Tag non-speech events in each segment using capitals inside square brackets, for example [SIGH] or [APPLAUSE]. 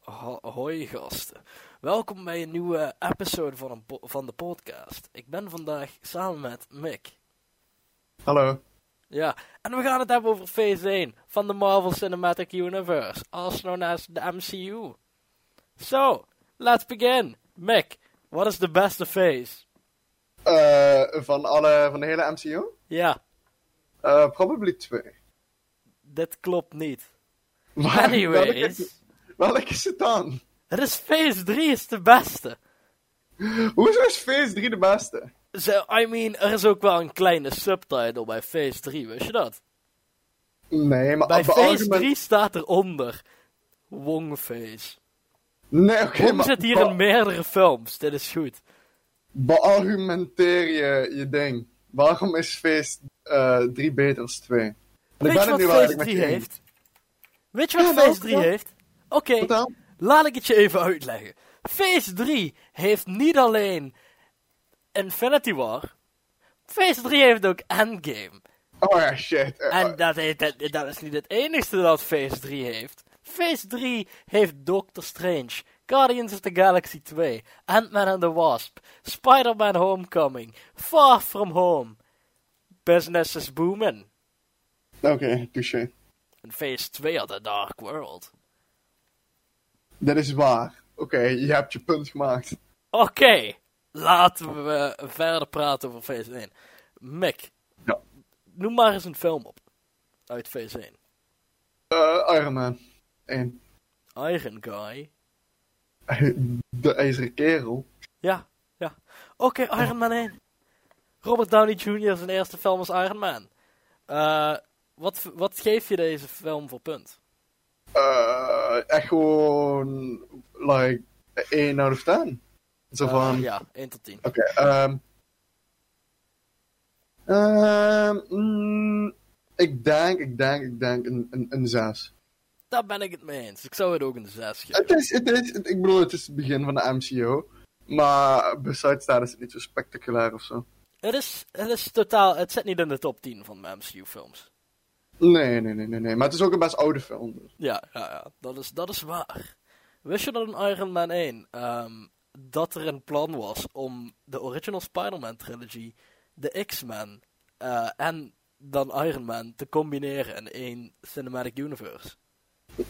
Ho- hoi gasten. Welkom bij een nieuwe episode van, een po- van de podcast. Ik ben vandaag samen met Mick. Hallo. Ja, en we gaan het hebben over Phase 1 van de Marvel Cinematic Universe, also known as the MCU. So, let's begin. Mick, what is the best phase? Eh, van, alle, van de hele MCU? Ja, Eh probably twee. dit klopt niet. Maar Welke, Anyways, welke is het dan? het is Phase 3 is de beste. Hoezo is Phase 3 de beste? Zo, I mean, er is ook wel een kleine subtitle bij Phase 3, wist je dat? Nee, maar Bij be- Phase algemeen- 3 staat eronder Wong Phase. Nee, oké, Wong maar zit hier be- in meerdere films, dit is goed. beargumenteer je je ding. Waarom is Phase 3 beter dan 2? Want Weet je wat wel Phase eigenlijk 3 met je eens. heeft? Weet je wat Ja, maar Phase ook 3 wel. heeft? Oké, Vertel. laat ik het je even uitleggen. Phase 3 heeft niet alleen Infinity War. Phase 3 heeft ook Endgame. Oh ja, shit. Eh, En dat, heeft- dat, dat is niet het enigste dat Phase 3 heeft. Phase 3 heeft Doctor Strange, Guardians of the Galaxy 2, Ant-Man and the Wasp, Spider-Man Homecoming, Far From Home. Business is booming. eh, Oké, touché. En Phase 2 had The Dark World. Dat is waar. Oké, je hebt je punt gemaakt. Oké, laten we verder praten over Phase 1. Mick, Ja. noem maar eens een film op. Uit Phase 1. Eh, Iron Man 1. Iron Guy. [LAUGHS] De IJzeren Kerel. Ja, ja. Oké, Iron Man 1. Robert Downey Jr. zijn eerste film als Iron Man. Eh, wat, wat geef je deze film voor punt? eh echt gewoon, like, 1 out of 10. Zo Eh, van, ja, 1 tot 10. oké, ehm ehm, mm, ik denk, ik denk, ik denk een, een, een 6. Daar ben ik het mee eens. Ik zou het ook een 6 geven. Het is, het is, het- ik bedoel, het is het begin van de MCO, maar besides that is het niet zo spectaculair of zo. Het is, het is totaal... Het zit niet in de top 10 van de MCU-films. Nee, nee, nee, nee, nee, maar het is ook een best oude film. dus. Ja, ja, ja. Dat is, dat is waar. Wist je dat in Iron Man 1... ehm, dat er een plan was om de original Spider-Man-trilogie... de X-Men eh, en dan Iron Man te combineren in één cinematic universe.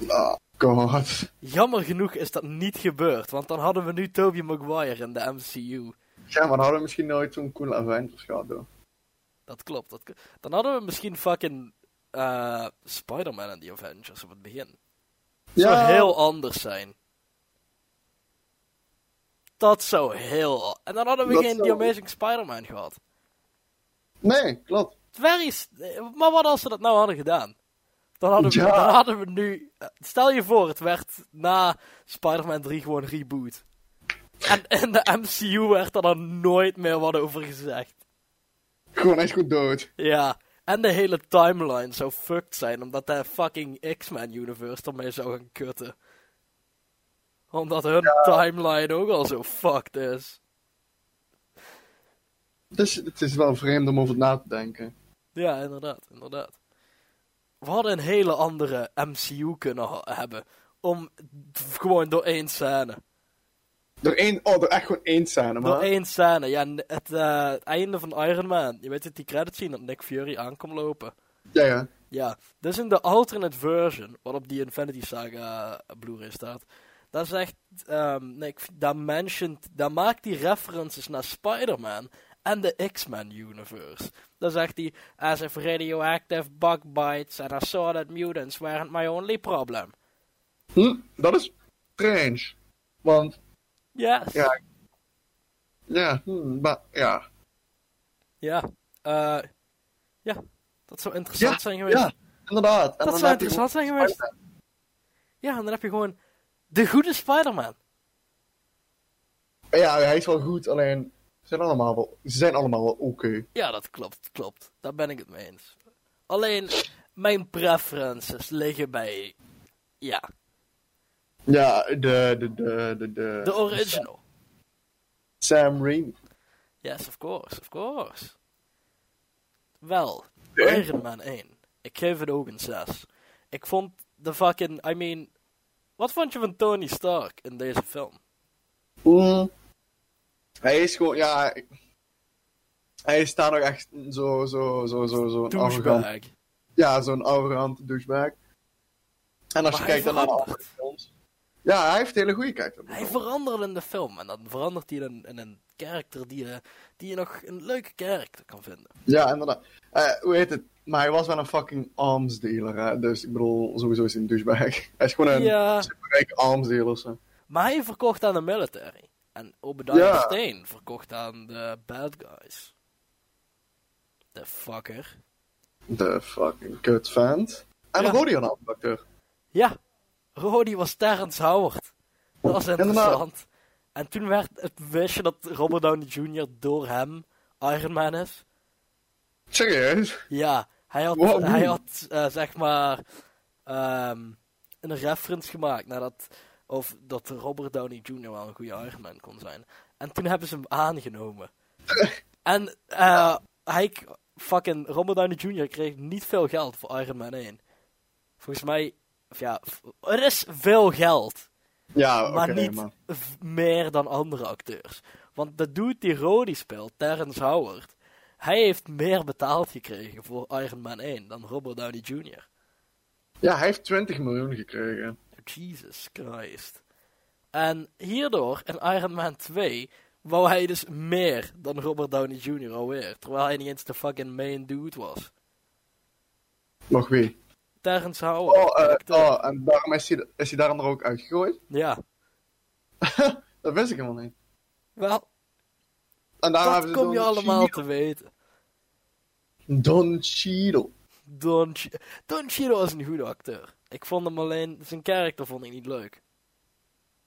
Ah, god. Jammer genoeg is dat niet gebeurd, want dan hadden we nu Tobey Maguire in de MCU. Ja, maar dan hadden we misschien nooit zo'n coole Avengers gehad, hoor. Dat klopt. Dat... k- Dan hadden we misschien fucking eh, Spider-Man en The Avengers op het begin. Het zou heel anders zijn. Dat zou heel... En dan hadden we Dat geen zou- The Amazing Spider-Man gehad. Nee, klopt. Very... s- eh, Maar wat als ze dat nou hadden gedaan? Dan hadden we, Ja. dan hadden we nu... eh, Stel je voor, het werd na Spider-Man 3 gewoon reboot. En in de MCU werd er dan nooit meer wat over gezegd. Gewoon echt goed dood. Ja, en de hele timeline zou fucked zijn, omdat de fucking X-Men-universe ermee zou gaan kutten. Omdat hun timeline ook al zo fucked is. Dus het is wel vreemd om over na te denken. Ja, inderdaad, inderdaad. We hadden een hele andere MCU kunnen ha- hebben. Om d- gewoon door één scène. Door één, oh, door echt gewoon één scène, Door maar. één scène. Ja, en het eh, het einde van Iron Man. Je weet het, die credits zien dat Nick Fury aankomt lopen. Ja, ja. Ja, dus in de alternate version, wat op die Infinity Saga eh, Blu-ray staat, daar zegt, ehm nee, ik vind- daar mentioned, daar maakt hij references naar Spider-Man en de X-Men universe. Daar zegt hij, as if radioactive bug bites and I saw that mutants weren't my only problem. Hm, dat is strange. Want, Yes. ja. Ja, hm, maar, ja. Ja. eh, ja. Dat zou interessant Ja, zijn geweest. Ja, inderdaad. En Dat dan zou heb je interessant zijn gewoon geweest. Spider-Man. Ja, en dan heb je gewoon de goede Spider-Man. Ja, hij is wel goed, alleen. Ze zijn allemaal wel, ze zijn allemaal wel oké. Ja, dat klopt, klopt. Daar ben ik het mee eens. Alleen, mijn preferences liggen bij... Ja, Ja, de, de, de, de, de. de original. Sam Raimi. Yes, of course, of course. Wel, Ja. Iron Man 1. Ik geef het ook een 6. Ik vond de fucking... I mean, Wat vond je van Tony Stark in deze film? Mm. Hij is gewoon, ja. ik- Hij staat nog echt zo, zo, zo, zo, zo. Arrogant, Douchebag. ja, zo'n arrogant douchebag. En als Maar je hij kijkt dan naar de verandert. andere films. Ja, hij heeft hele goede kijk. Hij verandert in de film en dan verandert hij in, een- in een karakter die je, die je nog een leuke karakter kan vinden. Ja, inderdaad. Eh, hoe heet het? Maar hij was wel een fucking armsdealer, hè? Dus ik bedoel, sowieso is hij een douchebag. [LAUGHS] Hij is gewoon een Ja. superrijke armsdealer of zo. Maar hij verkocht aan de military. En Obadiah Ja. Stane verkocht aan de bad guys. De fucker. De fucking kut vent. En Ja. een Rodion acteur. Ja, Rody was Terrence Howard. Dat was Inderdaad. interessant. En toen werd het wist je dat Robert Downey Jr. door hem Iron Man is. Serieus? Ja, hij had, Wow. hij had eh, zeg maar ehm, een reference gemaakt naar dat, of dat Robert Downey Jr. wel een goede Iron Man kon zijn. En toen hebben ze hem aangenomen. en eh, hij, k- fucking Robert Downey Jr. kreeg niet veel geld voor Iron Man 1. Volgens mij, of ja, f- er is veel geld, Ja, maar oké, niet maar. v- meer dan andere acteurs. Want de dude die Rhodey speelt, Terrence Howard, hij heeft meer betaald gekregen voor Iron Man 1 dan Robert Downey Jr. Ja, hij heeft 20 miljoen gekregen. Jesus Christ. En hierdoor, in Iron Man 2, wou hij dus meer dan Robert Downey Jr. alweer. Terwijl hij niet eens de fucking main dude was. Nog wie? Terrence Howard. Oh, eh, acteur. oh en daarom is hij, is hij daarom er ook uitgegooid? Ja, [LAUGHS] Dat wist ik helemaal niet. wel, En dat daarom hebben ze kom je Don allemaal Cheadle- te weten. Don Cheadle. Don, Ch Don Cheadle is een goede acteur. Ik vond hem alleen, zijn karakter vond ik niet leuk.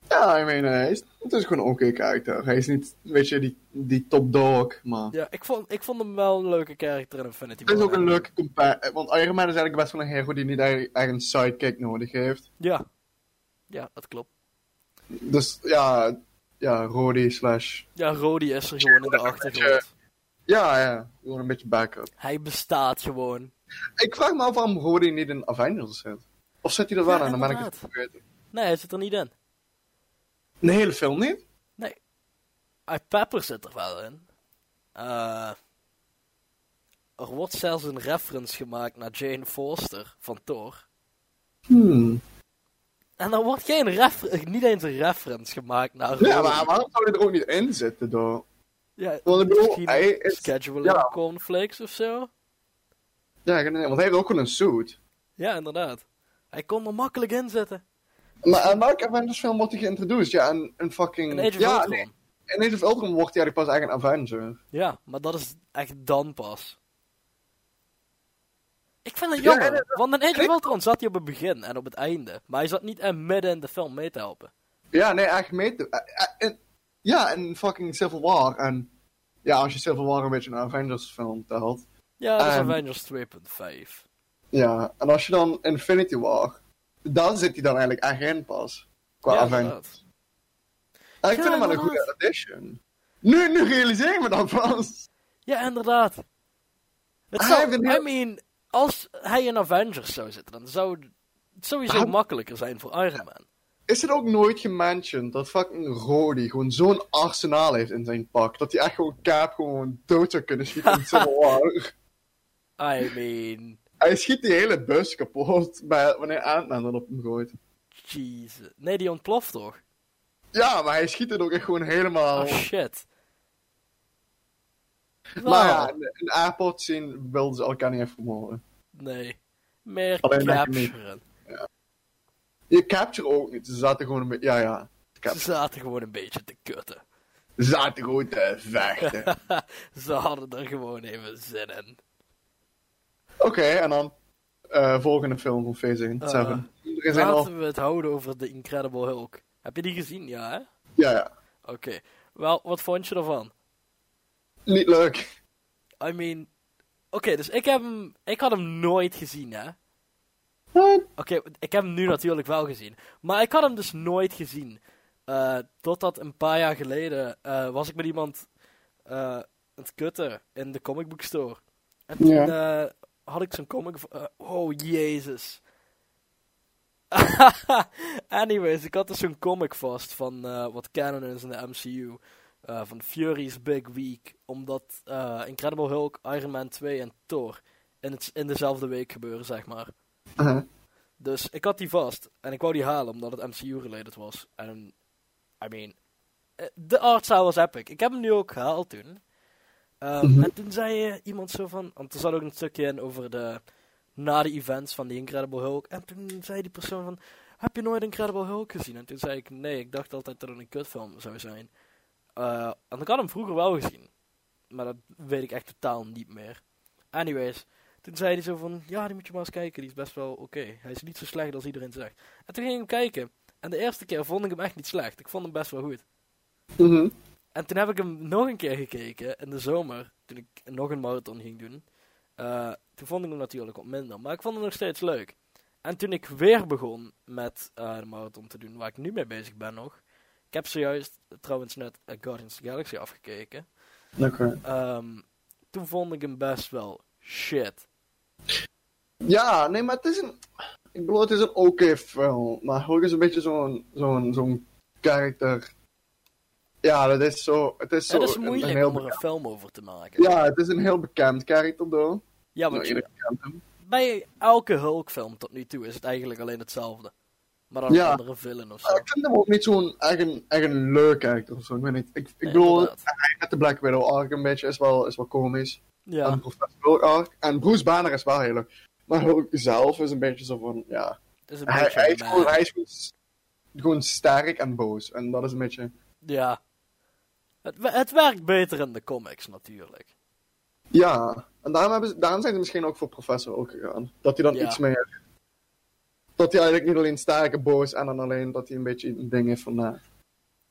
Ja, I mean, eh, hij is, het is gewoon een oké karakter. Hij is niet, weet je, die, die top dog, maar... Ja, ik vond, ik vond hem wel een leuke karakter in Infinity Het is War. ook een leuke compare. Want Iron Man is eigenlijk best wel een hero die niet eigenlijk eigenlijk een sidekick nodig heeft. Ja. Ja, dat klopt. Dus ja, ja, Rody slash... Ja, Rhodey is er gewoon in de achtergrond. Ja, ja, gewoon een beetje backup. Hij bestaat gewoon. Ik vraag me af waarom Rody niet in Avengers zit. Of zit hij er wel Ja, aan, dan ben ik het inderdaad. vergeten. Nee, hij zit er niet in. De hele film niet? Nee. I Pepper zit er wel in. Eh, er wordt zelfs een reference gemaakt naar Jane Foster van Thor. Hmm. En er wordt geen refer- niet eens een reference gemaakt naar Ja, Rhodey. maar waarom zou hij er ook niet in zitten, door? Ja, Want ik bedoel, misschien hij is- scheduling ja. conflicts of zo. Ja, ik weet niet, want hij heeft ook gewoon een suit. Ja, inderdaad. Hij kon er makkelijk in zitten. Maar aan welke Avengers film wordt hij geïntroduceerd? Ja, een, een fucking... In Age of Mm, ja, Ultron. nee, in Age of Ultron wordt hij eigenlijk pas eigenlijk een Avenger. Ja, maar dat is echt dan pas. Ik vind het Ja, jammer, en het- want in Age ik- of Ultron zat hij op het begin en op het einde. Maar hij zat niet in midden in de film mee te helpen. Ja, nee, echt mee te... eh, eh, en- ja, en fucking Civil War. En ja, als je Civil War een beetje een Avengers film telt. Ja, dat is Ehm. Avengers 2.5. Ja, en als je dan Infinity War... Dan zit hij dan eigenlijk echt in pas. Qua Ja, Avengers. inderdaad. En ik Ja, vind hem wel een inderdaad. goede addition. Nu, nu realiseer ik me dat pas. Ja, inderdaad. Het Hij zou, heeft een Ah, heel- I mean, als hij in Avengers zou zitten, dan zou het sowieso Maar- makkelijker zijn voor Iron Man. Is het ook nooit gemantioned dat fucking Rhodey gewoon zo'n arsenaal heeft in zijn pak? Dat hij echt gewoon Kaap gewoon dood zou kunnen schieten in Civil War. I mean, Hij schiet die hele bus kapot bij, wanneer Ant-Man dan op hem gooit. jeez. Nee, die ontploft toch? Ja, maar hij schiet het ook echt gewoon helemaal. Oh shit. maar ja, Wow. in de- in de airport scene wilden ze elkaar niet even vermoorden. Nee. Meer Alleen dat je capturen. Je capture ook niet. Ze zaten gewoon een beetje. Ja, ja. Ze zaten gewoon een beetje te kutten. Ze zaten gewoon te vechten. [LAUGHS] Oké, Ze hadden er gewoon even zin in. en dan. eh, volgende film van Phase 1. Eh, Seven. Iedereen zijn al. Laten we het houden over The Incredible Hulk. Heb je die gezien? Ja, hè? Ja, ja. Oké. Wel, wat vond je ervan? Niet leuk. I mean... Oké, dus ik heb hem... Ik had hem nooit gezien, hè? Wat? Oké, ik heb hem nu natuurlijk wel gezien. Maar ik had hem dus nooit gezien. Eh, totdat een paar jaar geleden eh, was ik met iemand eh, aan het kutten in de comic book store. En toen eh, had ik zo'n comic. v- eh, oh, jezus. [LAUGHS] Anyways, ik had dus zo'n comic vast van eh, wat canon is in de MCU. eh, van Fury's Big Week. Omdat eh, Incredible Hulk, Iron Man 2 en Thor in, het, in dezelfde week gebeuren, zeg maar. Uh-huh. Dus ik had die vast. En ik wou die halen omdat het MCU-related was. En, I mean, eh, de artstyle was epic. Ik heb hem nu ook gehaald toen. Ehm, Mhm. En toen zei eh, iemand zo van... Want er zat ook een stukje in over de... Na de events van die Incredible Hulk. En toen zei die persoon van... Heb je nooit Incredible Hulk gezien? En toen zei ik... Nee, ik dacht altijd dat het een kutfilm zou zijn. Eh, en ik had hem vroeger wel gezien. Maar dat weet ik echt totaal niet meer. Anyways... Toen zei hij zo van, ja, die moet je maar eens kijken. Die is best wel oké. Hij is niet zo slecht als iedereen zegt. En toen ging ik hem kijken. En de eerste keer vond ik hem echt niet slecht. Ik vond hem best wel goed. Mhm. En toen heb ik hem nog een keer gekeken in de zomer. Toen ik nog een marathon ging doen. Eh, toen vond ik hem natuurlijk wat minder. Maar ik vond hem nog steeds leuk. En toen ik weer begon met eh, de marathon te doen, waar ik nu mee bezig ben nog. Ik heb zojuist eh, trouwens net eh, Guardians of the Galaxy afgekeken. Oké. Ehm, toen vond ik hem best wel shit. Ja, nee, maar het is een... Ik bedoel, het is een oké film. Maar Hulk is een beetje zo'n... Zo'n... Zo'n karakter... Ja, dat is zo... Het is zo... Het is een- moeilijk een heel om er beka- een film over te maken. Ja, het is een heel bekend karakter, though. Ja, Nou, want je- iedereen kent hem. bij elke Hulk-film tot nu toe is het eigenlijk alleen hetzelfde. Maar dan Ja. een andere villain of zo. Maar ik vind hem ook niet zo'n echt een, echt een leuk karakter of zo. Ik weet niet. Ik, ik Nee, bedoel, inderdaad. hij met de Black Widow arc een beetje is wel, is wel komisch. En de Ja, Professor Hulk arc. En Bruce Banner is wel heel leuk. Maar Hulk zelf is een beetje zo van, ja... het is een Hij, beetje hij is meh. gewoon, hij is gewoon, s- gewoon sterk en boos. En dat is een beetje... Ja. Het, we- het werkt beter in de comics natuurlijk. Ja, en daarom, hebben ze, daarom zijn ze misschien ook voor professor ook gegaan. Dat hij dan Ja. iets meer... Dat hij eigenlijk niet alleen sterke boos en dan alleen dat hij een beetje een ding heeft van... eh,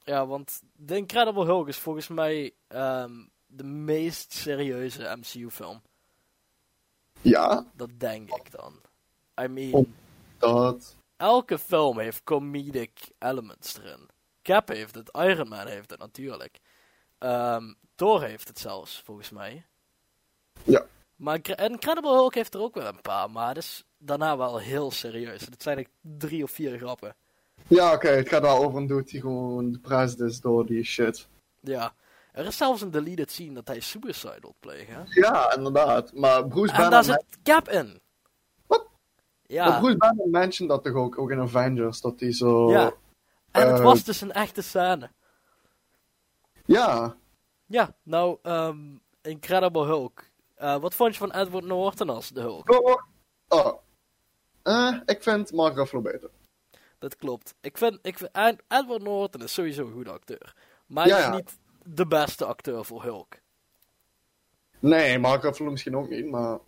Ja, want The Incredible Hulk is volgens mij ehm, de meest serieuze MCU-film. ja, Dat denk ik dan. I mean, Oh. dat... elke film heeft comedic elements erin. Cap heeft het, Iron Man heeft het natuurlijk. Ehm, Thor heeft het zelfs, volgens mij. Ja. Maar Incre- Incredible Hulk heeft er ook wel een paar, maar het is daarna wel heel serieus. Het zijn echt drie of vier grappen. Ja, oké, het gaat wel over een dude die gewoon depressed is door die shit. Ja. Er is zelfs een deleted scene dat hij suicide wil plegen. hè? Ja, inderdaad. Maar Bruce En Banner... daar zit Cap in. Dus Wat? maar Ja. Bruce Banner mentioned dat toch ook, ook in Avengers, dat hij zo... ja. En het eh, was dus een echte scène. Ja, Ja, nou, ehm, Incredible Hulk. Eh, wat vond je van Edward Norton als de Hulk? Oh, oh. Eh, ik vind Mark Ruffalo beter. Dat klopt. Ik vind, ik vind- Ed- Edward Norton is sowieso een goede acteur. Maar hij Ja, is ja. niet de beste acteur voor Hulk. Nee, Mark Ruffalo misschien ook niet, maar...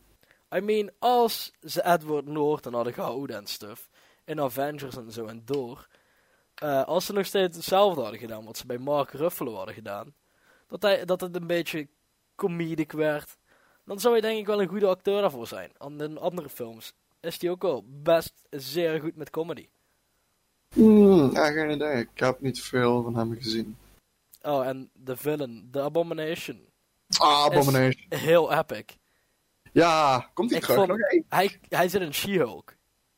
I mean, als ze Edward Norton hadden gehouden en stuff, in Avengers en zo en door, eh, als ze nog steeds hetzelfde hadden gedaan wat ze bij Mark Ruffalo hadden gedaan, dat, hij, dat het een beetje comedic werd, dan zou hij denk ik wel een goede acteur daarvoor zijn. En in andere films is hij ook wel best zeer goed met comedy. Hmm, ja, geen idee. Ik heb niet veel van hem gezien. Oh, en de villain, The Abomination, Ah, Abomination. heel epic. Ja, komt hij Ik terug? vond- Nog één? Hij, hij zit in She-Hulk.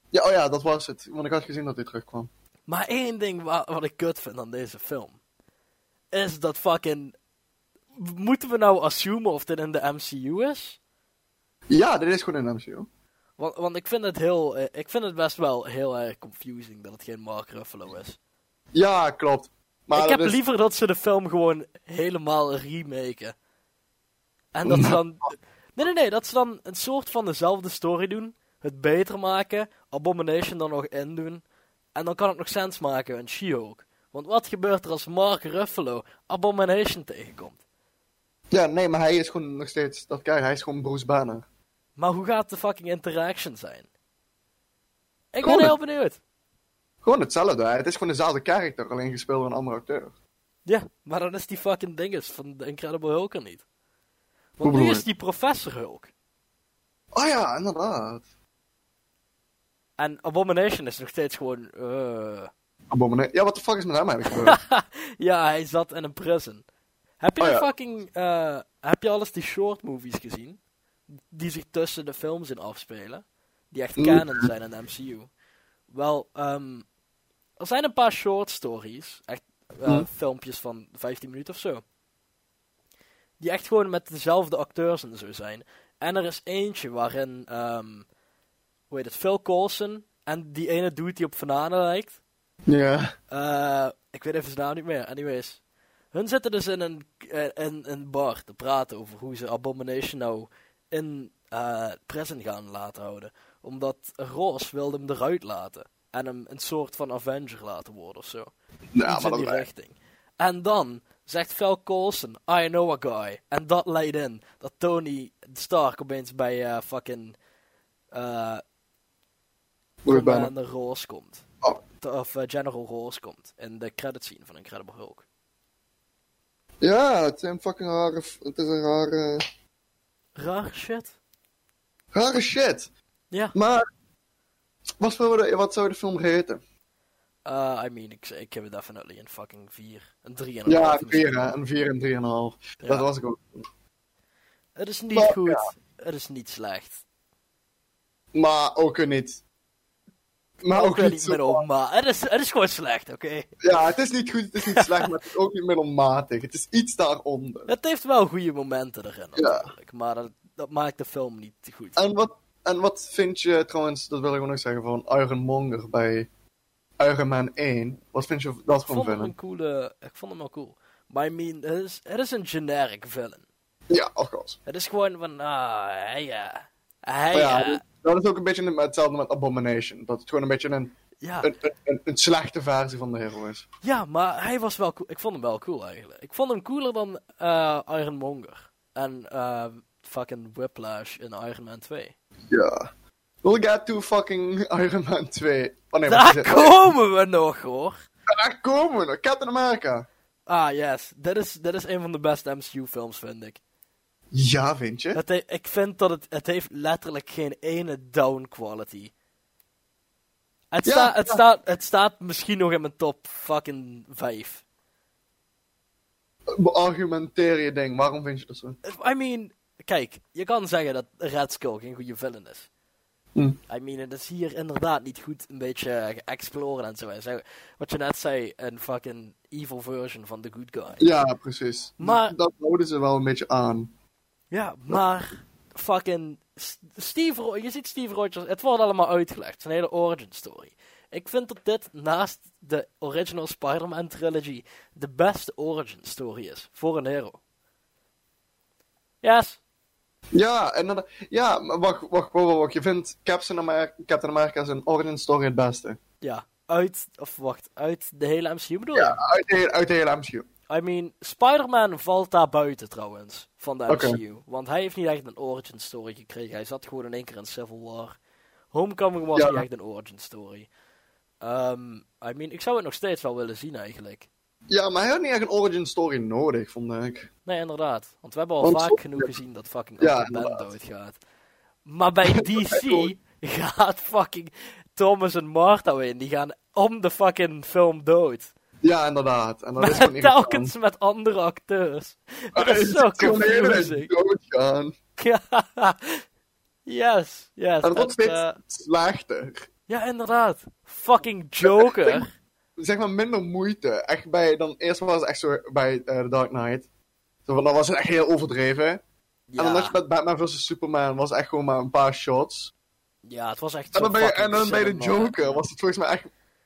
Ja, oh ja, dat was het. Want ik had gezien dat hij terugkwam. Maar één ding wa- wat ik kut vind aan deze film. Is dat fucking. Moeten we nou assumen of dit in de MCU is? Ja, dit is gewoon in MCU. Want, want ik, vind het heel, eh, ik vind het best wel heel erg confusing dat het geen Mark Ruffalo is. Ja, klopt. Maar ik dat heb is... liever dat ze de film gewoon helemaal remaken. En dat ze dan. Nee, nee, nee, dat ze dan een soort van dezelfde story doen. Het beter maken, Abomination dan nog in doen. En dan kan het nog sens maken in She-Hulk. Want wat gebeurt er als Mark Ruffalo Abomination tegenkomt? Ja, nee, maar hij is gewoon nog steeds... Dat kijk, hij is gewoon Bruce Banner. Maar hoe gaat de fucking interaction zijn? Ik ben Cool. heel benieuwd. Gewoon hetzelfde, hè. Het is gewoon dezelfde karakter, alleen gespeeld door een andere acteur. Ja, maar dan is die fucking dinges van de Incredible Hulk er niet. Want nu bedoel je? is die professor Hulk. Oh ja, inderdaad. En Abomination is nog steeds gewoon. eh. Abomination. Ja, wat de fuck is met hem [LAUGHS] eigenlijk gebeurd? Ja, hij zat in een prison. Heb je Oh ja. fucking. eh, heb je alles die short movies gezien? Die zich tussen de films in afspelen? Die echt Mm. canon zijn in de MCU. Wel, ehm, er zijn een paar short stories, echt eh, Mhm. filmpjes van 15 minuten of zo, die echt gewoon met dezelfde acteurs en zo zijn. En er is eentje waarin, ehm, hoe heet het, Phil Coulson en die ene dude die op Vanana lijkt. Ja. Eh, ik weet even zijn naam niet meer. Anyways. Hun zitten dus in een, eh, in een bar te praten over hoe ze Abomination nou in eh, prison gaan laten houden. Omdat Ross wilde hem eruit laten. En hem een soort van Avenger laten worden of zo. Ja, Iets maar in die dat echt. richting. En dan zegt Phil Coulson, I know a guy. En dat leidt in dat Tony Stark opeens bij eh, fucking eh Bruce Banner. Commander Ross komt. Oh. Te- Of eh, General Ross komt. In de credit scene van Incredible Hulk. Ja, het zijn fucking rare. f- Het is een rare. Raar shit. Rare shit. Ja. Maar. Wat zou de, wat zou de film heten? Eh, I mean, ik, ik heb het definitely een fucking 4. Een 3 en een Ja, half een misschien. 4 en 4 en 3,5. Ja. Dat was ik ook. Het is niet Maar, goed. Het is niet slecht. Maar ook niet. Maar ook, wel niet zo. middel, maar het is, het is gewoon slecht, oké? Ja, het is niet goed, het is niet slecht, maar het is ook niet middelmatig. Het is iets daaronder. Het heeft wel goede momenten erin, Ja. natuurlijk. Maar dat, dat maakt de film niet goed. En wat, en wat vind je trouwens, dat wil ik ook nog zeggen, van Ironmonger bij Iron Man 1? Wat vind je dat ik van vond hem villain? een coole... Ik vond hem wel cool. Maar I mean, het is, het is een generic villain. Ja, of course. Het is gewoon van... Ah, hij ja. Hij eh, Maar Oh ja, ja. dat- dat is ook een beetje hetzelfde met Abomination. Dat het gewoon een beetje een, Ja. een, een- een, een slechte versie van de hero is. Ja, maar hij was wel cool. Ik vond hem wel cool eigenlijk. Ik vond hem cooler dan eh Iron Monger. En eh, fucking Whiplash in Iron Man 2. Ja. We'll get to fucking Iron Man 2. Oh nee, maar Daar die zit- komen we nog hoor. daar komen we nog. Captain America. Ah, yes. Dit is, dit is een van de beste MCU-films, vind ik. Ja, vind je? Het he- ik vind dat het, het heeft letterlijk geen ene down quality. Het, Ja, sta- het, ja. Staat, het staat misschien nog in mijn top fucking 5. Beargumenteer je ding. Waarom vind je dat zo? I mean, kijk, je kan zeggen dat Red Skull geen goede villain is. Hm. I mean, het is hier inderdaad niet goed een beetje exploren en zo. En zo. Wat je net zei, een fucking evil version van The Good Guy. Ja, precies. Maar- Dat houden ze wel een beetje aan. Ja, maar fucking S- Steve Ro- je ziet Steve Rogers, het wordt allemaal uitgelegd, zijn hele origin story. Ik vind dat dit naast de original Spider-Man trilogy de beste origin story is voor een hero. Yes. Ja, en dan, ja maar wacht, wacht, wacht, wacht, wacht. Je vindt Captain America, Captain America zijn origin story het beste. Ja, uit, of wacht, uit de hele MCU bedoel je? Ja, uit de, hele- uit de hele MCU. I mean, Spider-Man valt daar buiten trouwens, van de Oké. MCU. Want hij heeft niet echt een origin story gekregen. Hij zat gewoon in één keer in Civil War. Homecoming was Ja. niet echt een origin story. Ehm, I mean, ik zou het nog steeds wel willen zien eigenlijk. Ja, maar hij had niet echt een origin story nodig, vond ik. Nee, inderdaad. Want we hebben al Want vaak zo- genoeg gezien dat fucking Ja, Uncle Ben inderdaad. doodgaat. Maar [LAUGHS] bij DC gaat fucking Thomas en Martha in. Die gaan om de fucking film dood. Ja, inderdaad. En Oh, [LAUGHS] dat is gewoon Oh, Maar irritant. telkens met andere acteurs. Dat Het is zo gewoon de hele tijd confusing. doodgaan. Ja. [LAUGHS] Yes, yes. En dat wordt En, steeds eh, slechter. ja, inderdaad. Fucking [LAUGHS] Joker. Zeg maar minder moeite. Echt bij, dan eerst was het echt zo bij eh, The Dark Knight. Zo van, dan was het echt heel overdreven. En dan had Ja, je met Batman vs Superman was echt gewoon maar een paar shots. ja het was echt En zo dan, bij, fucking en dan bij de cinema. Joker was het volgens mij echt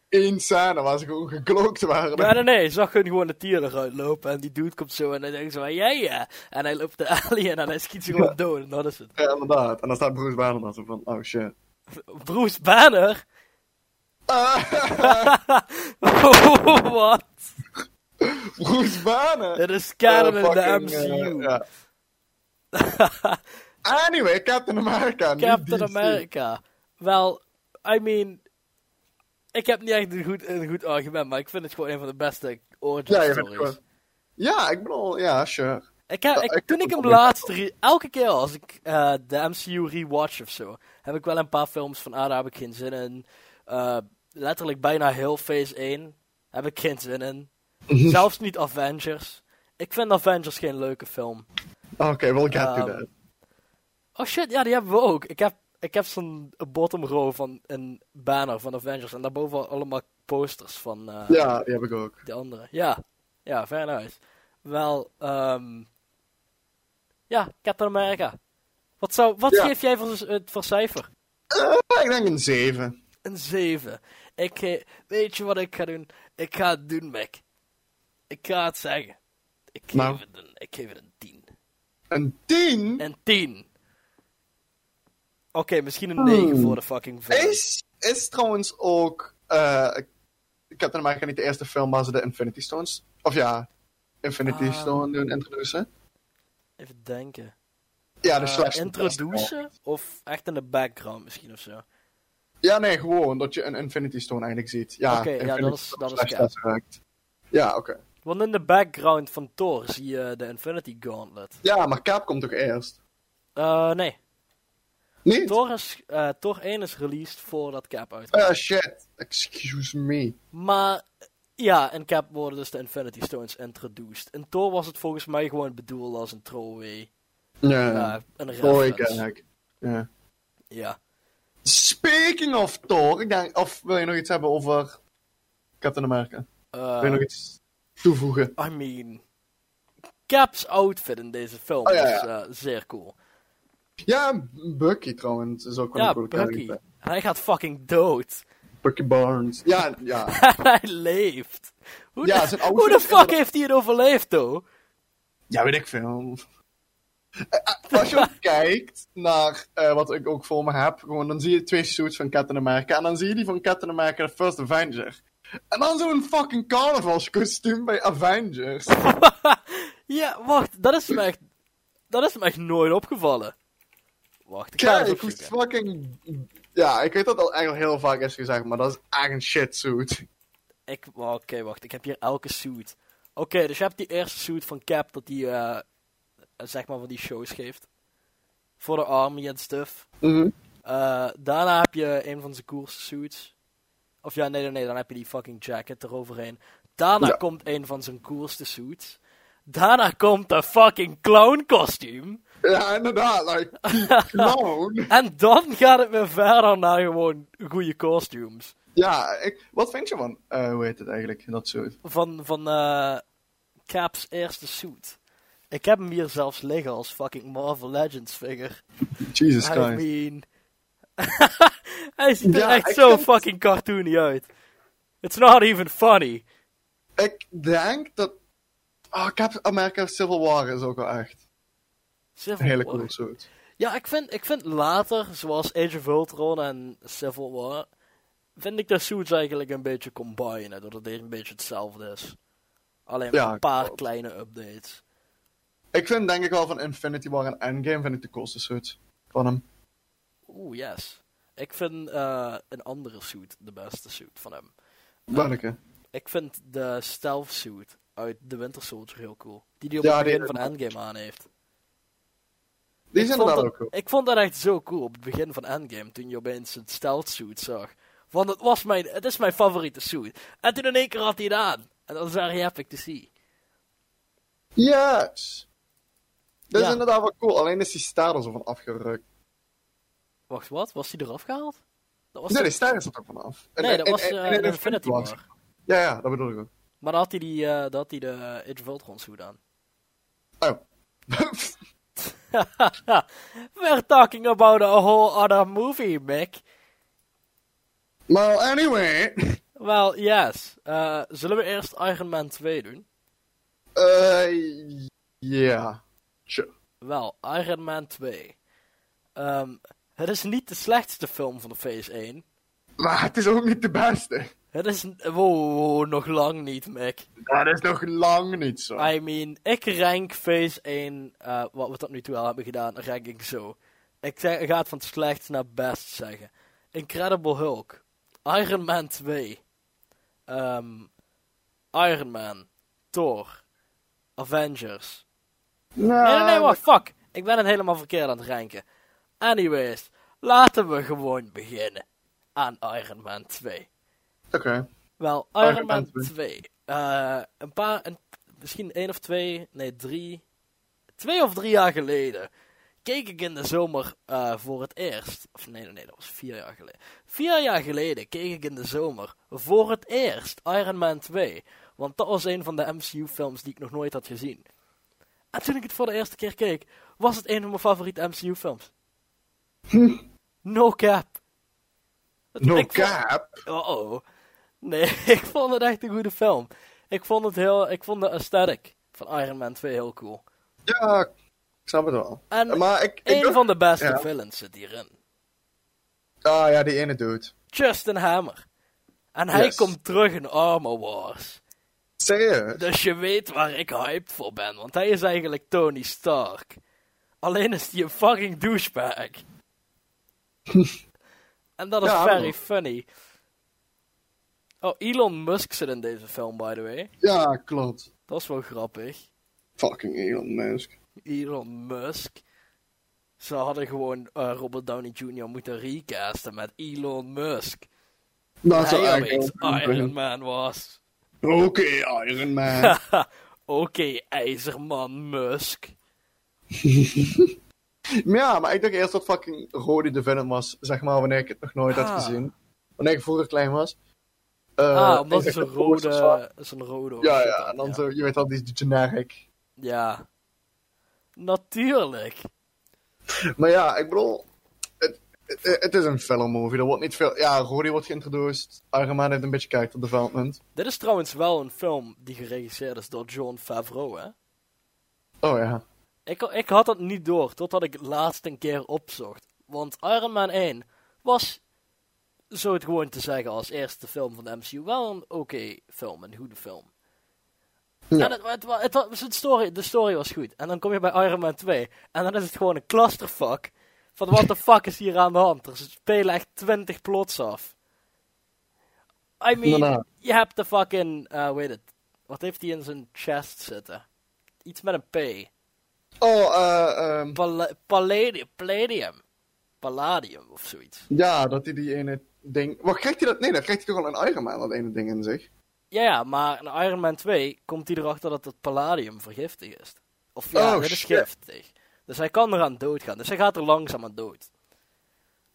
één scène waar ze gewoon geklokt waren. Ja, nee, nee. Je zag hun gewoon de tier eruit lopen. En die dude komt zo en hij denkt zo van, ja, ja. En hij loopt de alley in en hij schiet ze gewoon dood. En dat is het. Ja, inderdaad. En dan staat Bruce Banner dan zo van, oh [LAUGHS] shit. Bruce Banner? Ah, [LAUGHS] Wat? Bruce Banner! Dit is canon Oh, in de fucking, MCU. eh, ja. [LAUGHS] Anyway, Captain America. niet Captain DC. America. Wel, I mean... Ik heb niet echt een goed, een goed argument, maar ik vind het gewoon een van de beste origin Ja, je bent stories. gewoon- Ja, ik bedoel, ja, sure. Ik heb, Ja, ik, toen ik heb ik een hem probleem. laatst... re- elke keer als ik eh, de MCU rewatch of zo... heb ik wel een paar films van... Ah, daar heb ik geen zin in. Eh, letterlijk bijna heel Phase 1 heb ik geen zin [LAUGHS] in. Zelfs niet Avengers. Ik vind Avengers geen leuke film. Ah, Oké, we'll get to Ehm, that. Oh shit, ja, die hebben we ook. Ik heb ik heb zo'n bottom row van een banner van Avengers. En daarboven allemaal posters van eh, Ja, die heb ik ook. de andere. Ja, ja, fair uit. Wel, ehm ja, Captain America. Wat, zou, wat Ja. geef jij voor, z- het voor cijfer? Ah, ik denk een 7. Een 7. Ik, ge- weet je wat ik ga doen? Ik ga het doen, Mac. Ik ga het zeggen. Ik geef, Nou. het, een, ik geef het een 10. Een 10 Een 10. Oké, misschien een 9 Hmm. voor de fucking film. is, is trouwens ook. eh Captain America niet de eerste film waar ze de Infinity Stones. Of ja, Infinity Ah. Stone doen introduceren. Even denken. Ja, de Eh, slash. introducen? Of echt in de background misschien of zo? Ja, nee, gewoon dat je een Infinity Stone eigenlijk ziet. Ja, Oké, ja, Infinity dat is- Stone dat is slash cap. Tesseract. Ja, oké. Want in de background van Thor zie je de Infinity Gauntlet. Ja, maar Cap komt toch eerst? Eh, nee. Niet? Thor, is, eh, Thor 1 is released voordat Cap uitkomt. Ah, shit. Excuse me. Maar ja, in Cap worden dus de Infinity Stones introduced. In Thor was het volgens mij gewoon bedoeld als een throwaway. Ja, eh, een Sorry, reference. gag. Ja. Ja. Speaking of Thor, ik denk, of wil je nog iets hebben over Captain America? Eh, Wil je nog iets toevoegen? I mean... Cap's outfit in deze film Oh, ja, is eh, zeer cool. Ja, Bucky trouwens is ook wel ja, een coole Bucky. character. Hij gaat fucking dood. Bucky Barnes. Ja, ja. [LAUGHS] hij leeft. Hoe, Ja, de, zijn hoe outfit de is fuck inderdaad- heeft hij het overleefd, though? ja, weet ik veel. Eh, eh, Als [LAUGHS] je ook kijkt naar eh, wat ik ook voor me heb, gewoon, dan zie je twee suits van Captain America. En dan zie je die van Captain America The First Avenger. En dan zo'n fucking carnavalskostuum bij Avengers. ja, wacht, dat is me echt, dat is me echt nooit opgevallen. Wacht, ik ga het Kijk, hoe opzoeken. fucking... Ja, ik weet dat al eigenlijk heel vaak is gezegd, maar dat is echt een shitsuit. Ik, oh, Oké, wacht, ik heb hier elke suit. Oké, dus je hebt die eerste suit van Cap dat die, eh, eh, zeg maar, van die shows geeft. Voor de army en stuff. Eh, daarna heb je een van zijn coolste suits. Of ja, nee, nee, nee, dan heb je die fucking jacket eroverheen. Daarna Ja. komt een van zijn coolste suits. Daarna komt de fucking clown kostuum. Ja, inderdaad, like, die [LAUGHS] clown. En dan gaat het weer verder naar gewoon goede costumes. ja, ik, wat vind je van, eh, hoe heet het eigenlijk, dat suit? Van, van eh, Cap's eerste suit. Ik heb hem hier zelfs liggen als fucking Marvel Legends figure. Jesus I Christ. mean... [LAUGHS] Hij ziet er Ja, echt ik zo vind- fucking cartoony uit. It's not even funny. Ik denk dat, oh, Cap America Civil War is ook wel echt Civil een hele War. cool suit. Ja, ik vind, ik vind later, zoals Age of Ultron en Civil War, vind ik de suits eigenlijk een beetje combinen, doordat het een beetje hetzelfde is. Alleen met Ja, een paar klopt. kleine updates. Ik vind denk ik wel van Infinity War en Endgame vind ik de coolste suit van hem. Oeh, yes. Ik vind eh, een andere suit de beste suit van hem. Welke? Ik vind de stealth suit uit The Winter Soldier heel cool. Die die op Ja, het die- begin van Endgame aan heeft. Die Ik zijn vond inderdaad dat- ook cool. Ik vond dat echt zo cool op het begin van Endgame, toen je opeens een stealth suit zag. Want het, was mijn, het is mijn favoriete suit. En toen in één keer had hij het aan. En dat is very epic to see. Yes! Dat is Ja. inderdaad wel cool, alleen is die staart er zo van afgerukt. Wacht, wat? Was hij eraf gehaald? Dat was nee, die toch- staart is er toch vanaf. En- nee, dat en- was en- eh, en in de Infinity War. War. Ja, ja, dat bedoel ik ook. Maar dan had hij, die, eh, dan had hij de Age of Ultron suit aan. [LAUGHS] Oh. [LAUGHS] We're talking about a whole other movie, Mick. well, Nou, anyway. Well, yes. Eh, zullen we eerst Iron Man 2 doen? Eh ja. Sure. Wel, Iron Man 2. Ehm, het is niet de slechtste film van de Phase 1. Maar het is ook niet de beste. Het is... n- Wow, wow, wow, nog lang niet, Mick. Dat is nog lang niet zo. I mean, ik rank Phase 1, eh, wat we tot nu toe al hebben gedaan, rank ik zo. Ik zeg- ik ga het van slecht naar best zeggen. Incredible Hulk. Iron Man 2. Ehm, Iron Man. Thor. Avengers. Nou, Nee, nee, nee, wacht, fuck. Ik ben het helemaal verkeerd aan het ranken. Anyways, laten we gewoon beginnen aan Iron Man 2. Oké. Wel, Iron, Iron Man Man 2. eh, een paar, een, misschien één of twee, nee drie, twee of drie jaar geleden keek ik in de zomer eh, voor het eerst. Of nee, nee, nee, dat was vier jaar geleden. Vier jaar geleden keek ik in de zomer voor het eerst Iron Man 2. Want dat was een van de MCU-films die ik nog nooit had gezien. En toen ik het voor de eerste keer keek, was het een van mijn favoriete MCU-films. no cap. Het- Hm. No ik vond- cap. Oh-oh. Oh, Nee, [LAUGHS] ik vond het echt een goede film. Ik vond het heel... Ik vond de aesthetic van Iron Man 2 heel cool. Ja, ik snap het wel. En Maar ik... ik een van de beste ja. villains zit hierin. Ah ja, die ene dude. Justin Hammer. En hij Yes. komt terug in Armor Wars. Serieus? Dus je weet waar ik hyped voor ben, want hij is eigenlijk Tony Stark. Alleen is hij een fucking [LAUGHS] douchebag. en dat is Ja, very maar- funny. Oh, Elon Musk zit in deze film, by the way. Ja, klopt. Dat is wel grappig. Fucking Elon Musk. Elon Musk. Ze hadden gewoon eh, Robert Downey Jr. moeten recasten met Elon Musk. Dat hij zou opeens eigenlijk... Iron Man was. [LAUGHS] Oké, Iron Man. Oké, IJzerman Musk. Maar ja, maar ik dacht eerst dat fucking Rody de Venom was, zeg maar, wanneer ik het nog nooit Ah. had gezien. Wanneer ik vroeger klein was. Eh, ah, ik omdat het dacht zo'n dat Rhodes was waar. rode... Zo'n rode of Ja, shit ja, had, en dan ja. zo, je weet al, die is generic. Ja. Natuurlijk. Maar ja, ik bedoel, het, het, het is een filmmovie, er wordt niet veel... Ja, Rody wordt geïntroduced, Iron Man heeft een beetje character development. Dit is trouwens wel een film die geregisseerd is door John Favreau, hè? Oh ja. Ik, ik had dat niet door, totdat ik het laatst een keer opzocht. Want Iron Man 1 was, zo het gewoon te zeggen, als eerste film van de MCU wel een oké film, een goede film. Ja. En het, het, wa- het, was- het story, de story was goed. En dan kom je bij Iron Man 2 en dan is het gewoon een clusterfuck. Van what the fuck is hier aan de hand? Er spelen echt 20 plots af. I mean, Daarna. je hebt de fucking, eh, hoe heet het? Wat heeft hij in zijn chest zitten? Iets met een P. Oh, eh, ehm, Palla- Palladium, Palladium. Palladium of zoiets. ja, dat hij die ene ding... Wat, krijgt hij dat? Nee, dan krijgt hij toch al een Iron Man, dat ene ding in zich. Ja, ja, maar in Iron Man 2 komt hij erachter dat het palladium vergiftig is. Of ja, Oh, dit is shit. giftig. Dus hij kan eraan doodgaan. Dus hij gaat er langzaam aan dood.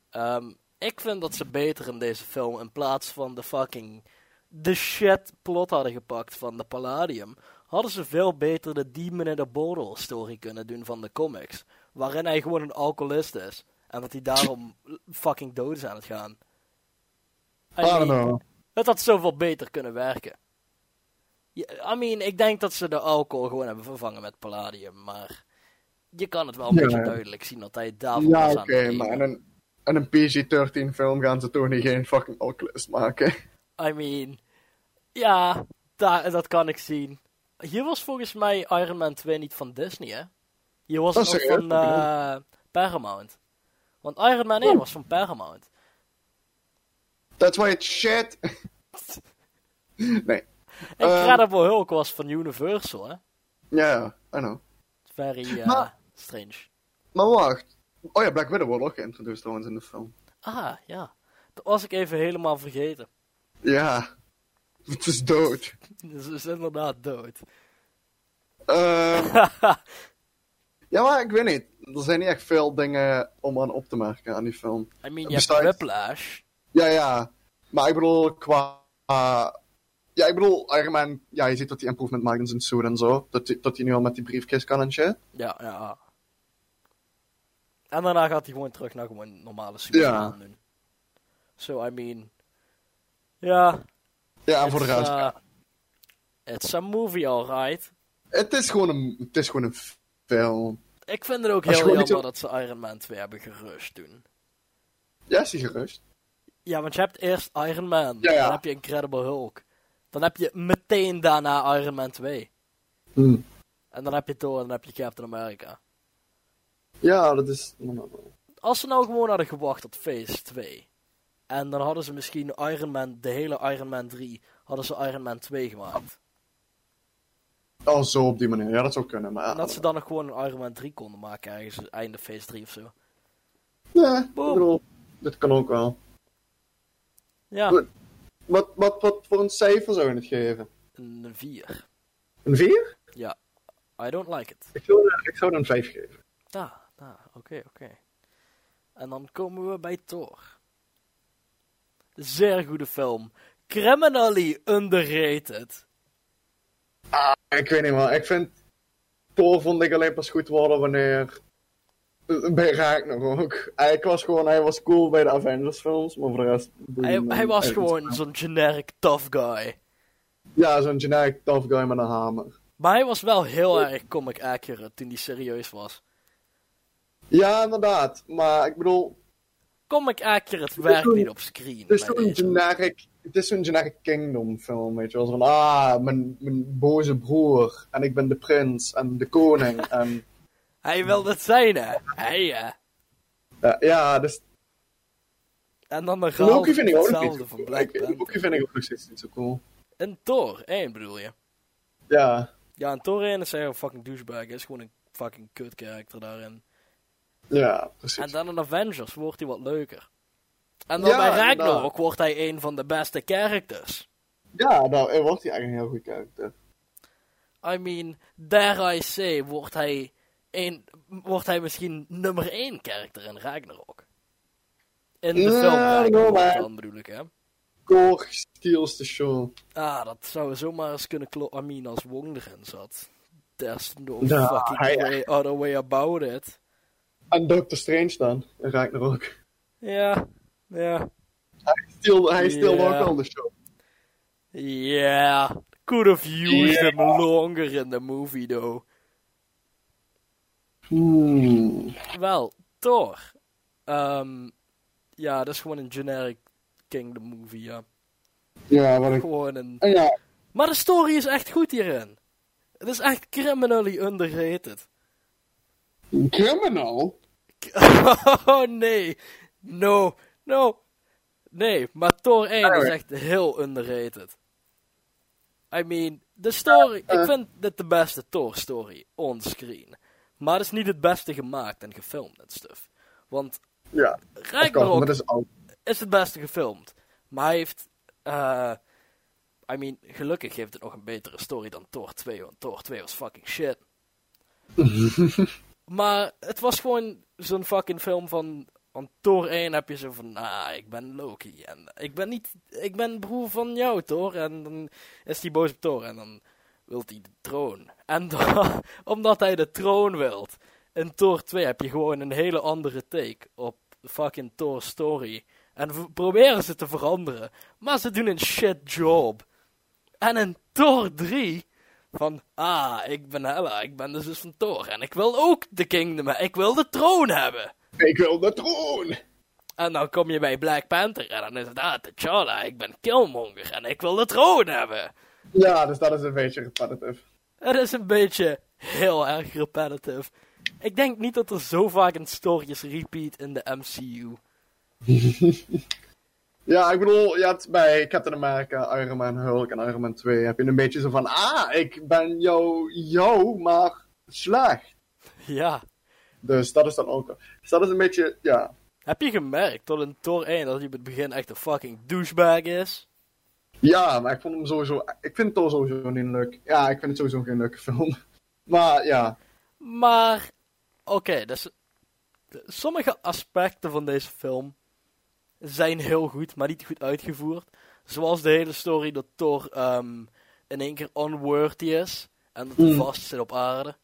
Ehm, ik vind dat ze beter in deze film in plaats van de fucking... De shit plot hadden gepakt van de Palladium. Hadden ze veel beter de Demon in the Bottle story kunnen doen van de comics. Waarin hij gewoon een alcoholist is. En dat hij daarom fucking dood is aan het gaan. I I don't mean, know. het had zoveel beter kunnen werken. Je- I mean, ik denk dat ze de alcohol gewoon hebben vervangen met palladium, maar je kan het wel een Ja, beetje ja. duidelijk zien dat hij daarvoor Ja, was oké, aan het maar in drinken. een, in een PG-13 film gaan ze toch niet geen fucking alcoholist maken. [LAUGHS] I mean, ja, da- dat kan ik zien. Hier was volgens mij Iron Man 2 niet van Disney, hè? Hier was Oh, het nog serieus? van eh, Paramount. Want Iron Man Oh. 1 was van Paramount. That's why it's shit! [LAUGHS] nee. Eh. Incredible Hulk was van Universal, hè? Ja, ja, I know. Very eh, Maar- strange. Maar wacht. Oh ja, Black Widow wordt ook geïntroduceerd trouwens in de film. Ah, ja. Dat was ik even helemaal vergeten. Ja. Het is dood. Dus Ze is inderdaad [LAUGHS] dood. Ehm, ja, maar ik weet niet. Er zijn niet echt veel dingen om aan op te merken aan die film. I mean, je hebt Besides- Whiplash. Ja, ja. Maar ik bedoel, qua... ja, ik bedoel, Iron Man... Ja, je ziet dat hij improvement maakt in zijn suit en zo. Dat hij dat hij nu al met die briefcase kan en shit. Ja, ja. En daarna gaat hij gewoon terug naar gewoon normale Superman doen. So, I mean... Ja. Ja, en voor de it's, rest... eh, it's a movie, alright. Het is gewoon een, het is gewoon een film. Ik vind het ook Als je heel gewoon jammer niet zo- dat ze Iron Man 2 hebben gerusht toen. Ja, is die gerust? Ja, want je hebt eerst Iron Man. Ja, ja. Dan heb je Incredible Hulk. Dan heb je meteen daarna Iron Man 2. Hmm. En dan heb je Thor en dan heb je Captain America. Ja, dat is... als ze nou gewoon hadden gewacht tot Phase 2. En dan hadden ze misschien Iron Man, de hele Iron Man 3, hadden ze Iron Man 2 gemaakt. Oh, zo op die manier. Ja, dat zou kunnen, maar... En dat ze dan nog gewoon een Iron Man 3 konden maken ergens einde Phase 3 of zo. Nee, ik Boom. bedoel, dit kan ook wel. Ja, Goed. Wat, wat, wat voor een cijfer zou je het geven? een 4. Een 4? I don't like it. Ik zou, er- ik zou er een 5 geven. Ja, Ah, oké, oké. En dan komen we bij Thor. Zeer goede film. Criminally underrated. Ik weet niet, man. Ik vind... Thor vond ik alleen pas goed worden wanneer... Bij Raak nog ook. Hij was gewoon... Hij was cool bij de Avengers films, maar voor de rest... Hij, hij was Hij- gewoon zo'n generic tough guy. Ja, zo'n generic tough guy met een hamer. Maar hij was wel heel erg comic accurate toen hij serieus was. Ja, inderdaad. Maar ik bedoel... Comic accurate werkt niet op screen. Het is bij zo'n deze. generic... Het is zo'n generic Kingdom film, weet je wel. Zo van, ah, mijn, mijn boze broer. En ik ben de prins. En de [LAUGHS] koning. en... Hij wil dat zijn, hè? Hij, hè? Ja, ja, dus En dan de verhaal Loki vind ik ook nog hetzelfde niet van zo Black cool. Ik- Panther. Loki vind ik ook nog steeds niet zo cool. En Thor 1 bedoel je? Ja, Ja, en Thor 1 is echt een fucking douchebag. Hij is gewoon een fucking kut character daarin. ja, En precies. dan in Avengers wordt hij wat leuker. En dan Ja, bij Ragnarok inderdaad. wordt hij een van de beste characters. Ja, nou, hij wordt hij eigenlijk een heel goed karakter. I mean, dare I say, wordt hij, een, wordt hij misschien nummer 1 character in Ragnarok. In de Ja, film Ragnarok maar- dan bedoel ik, hè. Korg steals the show. Ah, dat zou zomaar eens kunnen kloppen. I mean, als Wong erin zat. There's no Ja, fucking hij- way, other way about it. En Doctor Strange dan, in Ragnarok. Ja, ja, Steal, hij steelt Ja. ook al de show. ja. Could have used Ja. him longer in the movie, though. Hmm. Wel, Thor. Ehm, ja, dat is gewoon een generic Kingdom movie, ja. Ja, wat ik... Gewoon een... En ja, Maar de story is echt goed hierin. Het is echt criminally underrated. Criminal? [LAUGHS] Oh nee. No. No. Nee, maar Thor 1 is Alright. echt heel underrated. I mean, de story. Eh, Ik vind dit de beste Thor-story onscreen. Maar het is niet het beste gemaakt en gefilmd en stuff. Want Ja, dat kan, maar Ragnarok dat is oud. is het beste gefilmd. Maar hij heeft. eh I mean, gelukkig heeft het nog een betere story dan Thor 2, want Thor 2 was fucking shit. maar het was gewoon zo'n fucking film van. Want Thor 1 heb je zo van, ah, ik ben Loki. En ik ben niet, ik ben broer van jou, Thor. En dan is hij boos op Thor en dan wil hij de troon. En [LAUGHS] dan, omdat hij de troon wilt, in Thor 2 heb je gewoon een hele andere take op fucking Thor's story. En v- proberen ze te veranderen. Maar ze doen een shit job. En in Thor 3. Van, ah, ik ben Hella, ik ben de zus van Thor. En ik wil ook de kingdom, he- ik wil de troon hebben. Ik wil de troon! En dan kom je bij Black Panther en dan is het, ah, T'Challa, ik ben Killmonger en ik wil de troon hebben. Ja, dus dat is een beetje repetitive. Het is een beetje heel erg repetitive. Ik denk niet dat er zo vaak een story is repeat in de MCU. Ja, ik bedoel, je hebt bij Captain America, Iron Man, Hulk en Iron Man 2 heb je een beetje zo van, ah, ik ben jou, jou, maar slecht. Ja. Dus dat is dan ook. Dus dat is een beetje, ja. Heb je gemerkt tot in Thor 1 dat hij op het begin echt een fucking douchebag is? Ja, maar ik vond hem sowieso. Ik vind het toch sowieso niet leuk. Ja, ik vind het sowieso geen leuke film. [LAUGHS] Maar ja. Maar, oké, dus sommige aspecten van deze film zijn heel goed, maar niet goed uitgevoerd. Zoals de hele story dat Thor ehm, in één keer unworthy is en dat hij Mm. vast zit op aarde.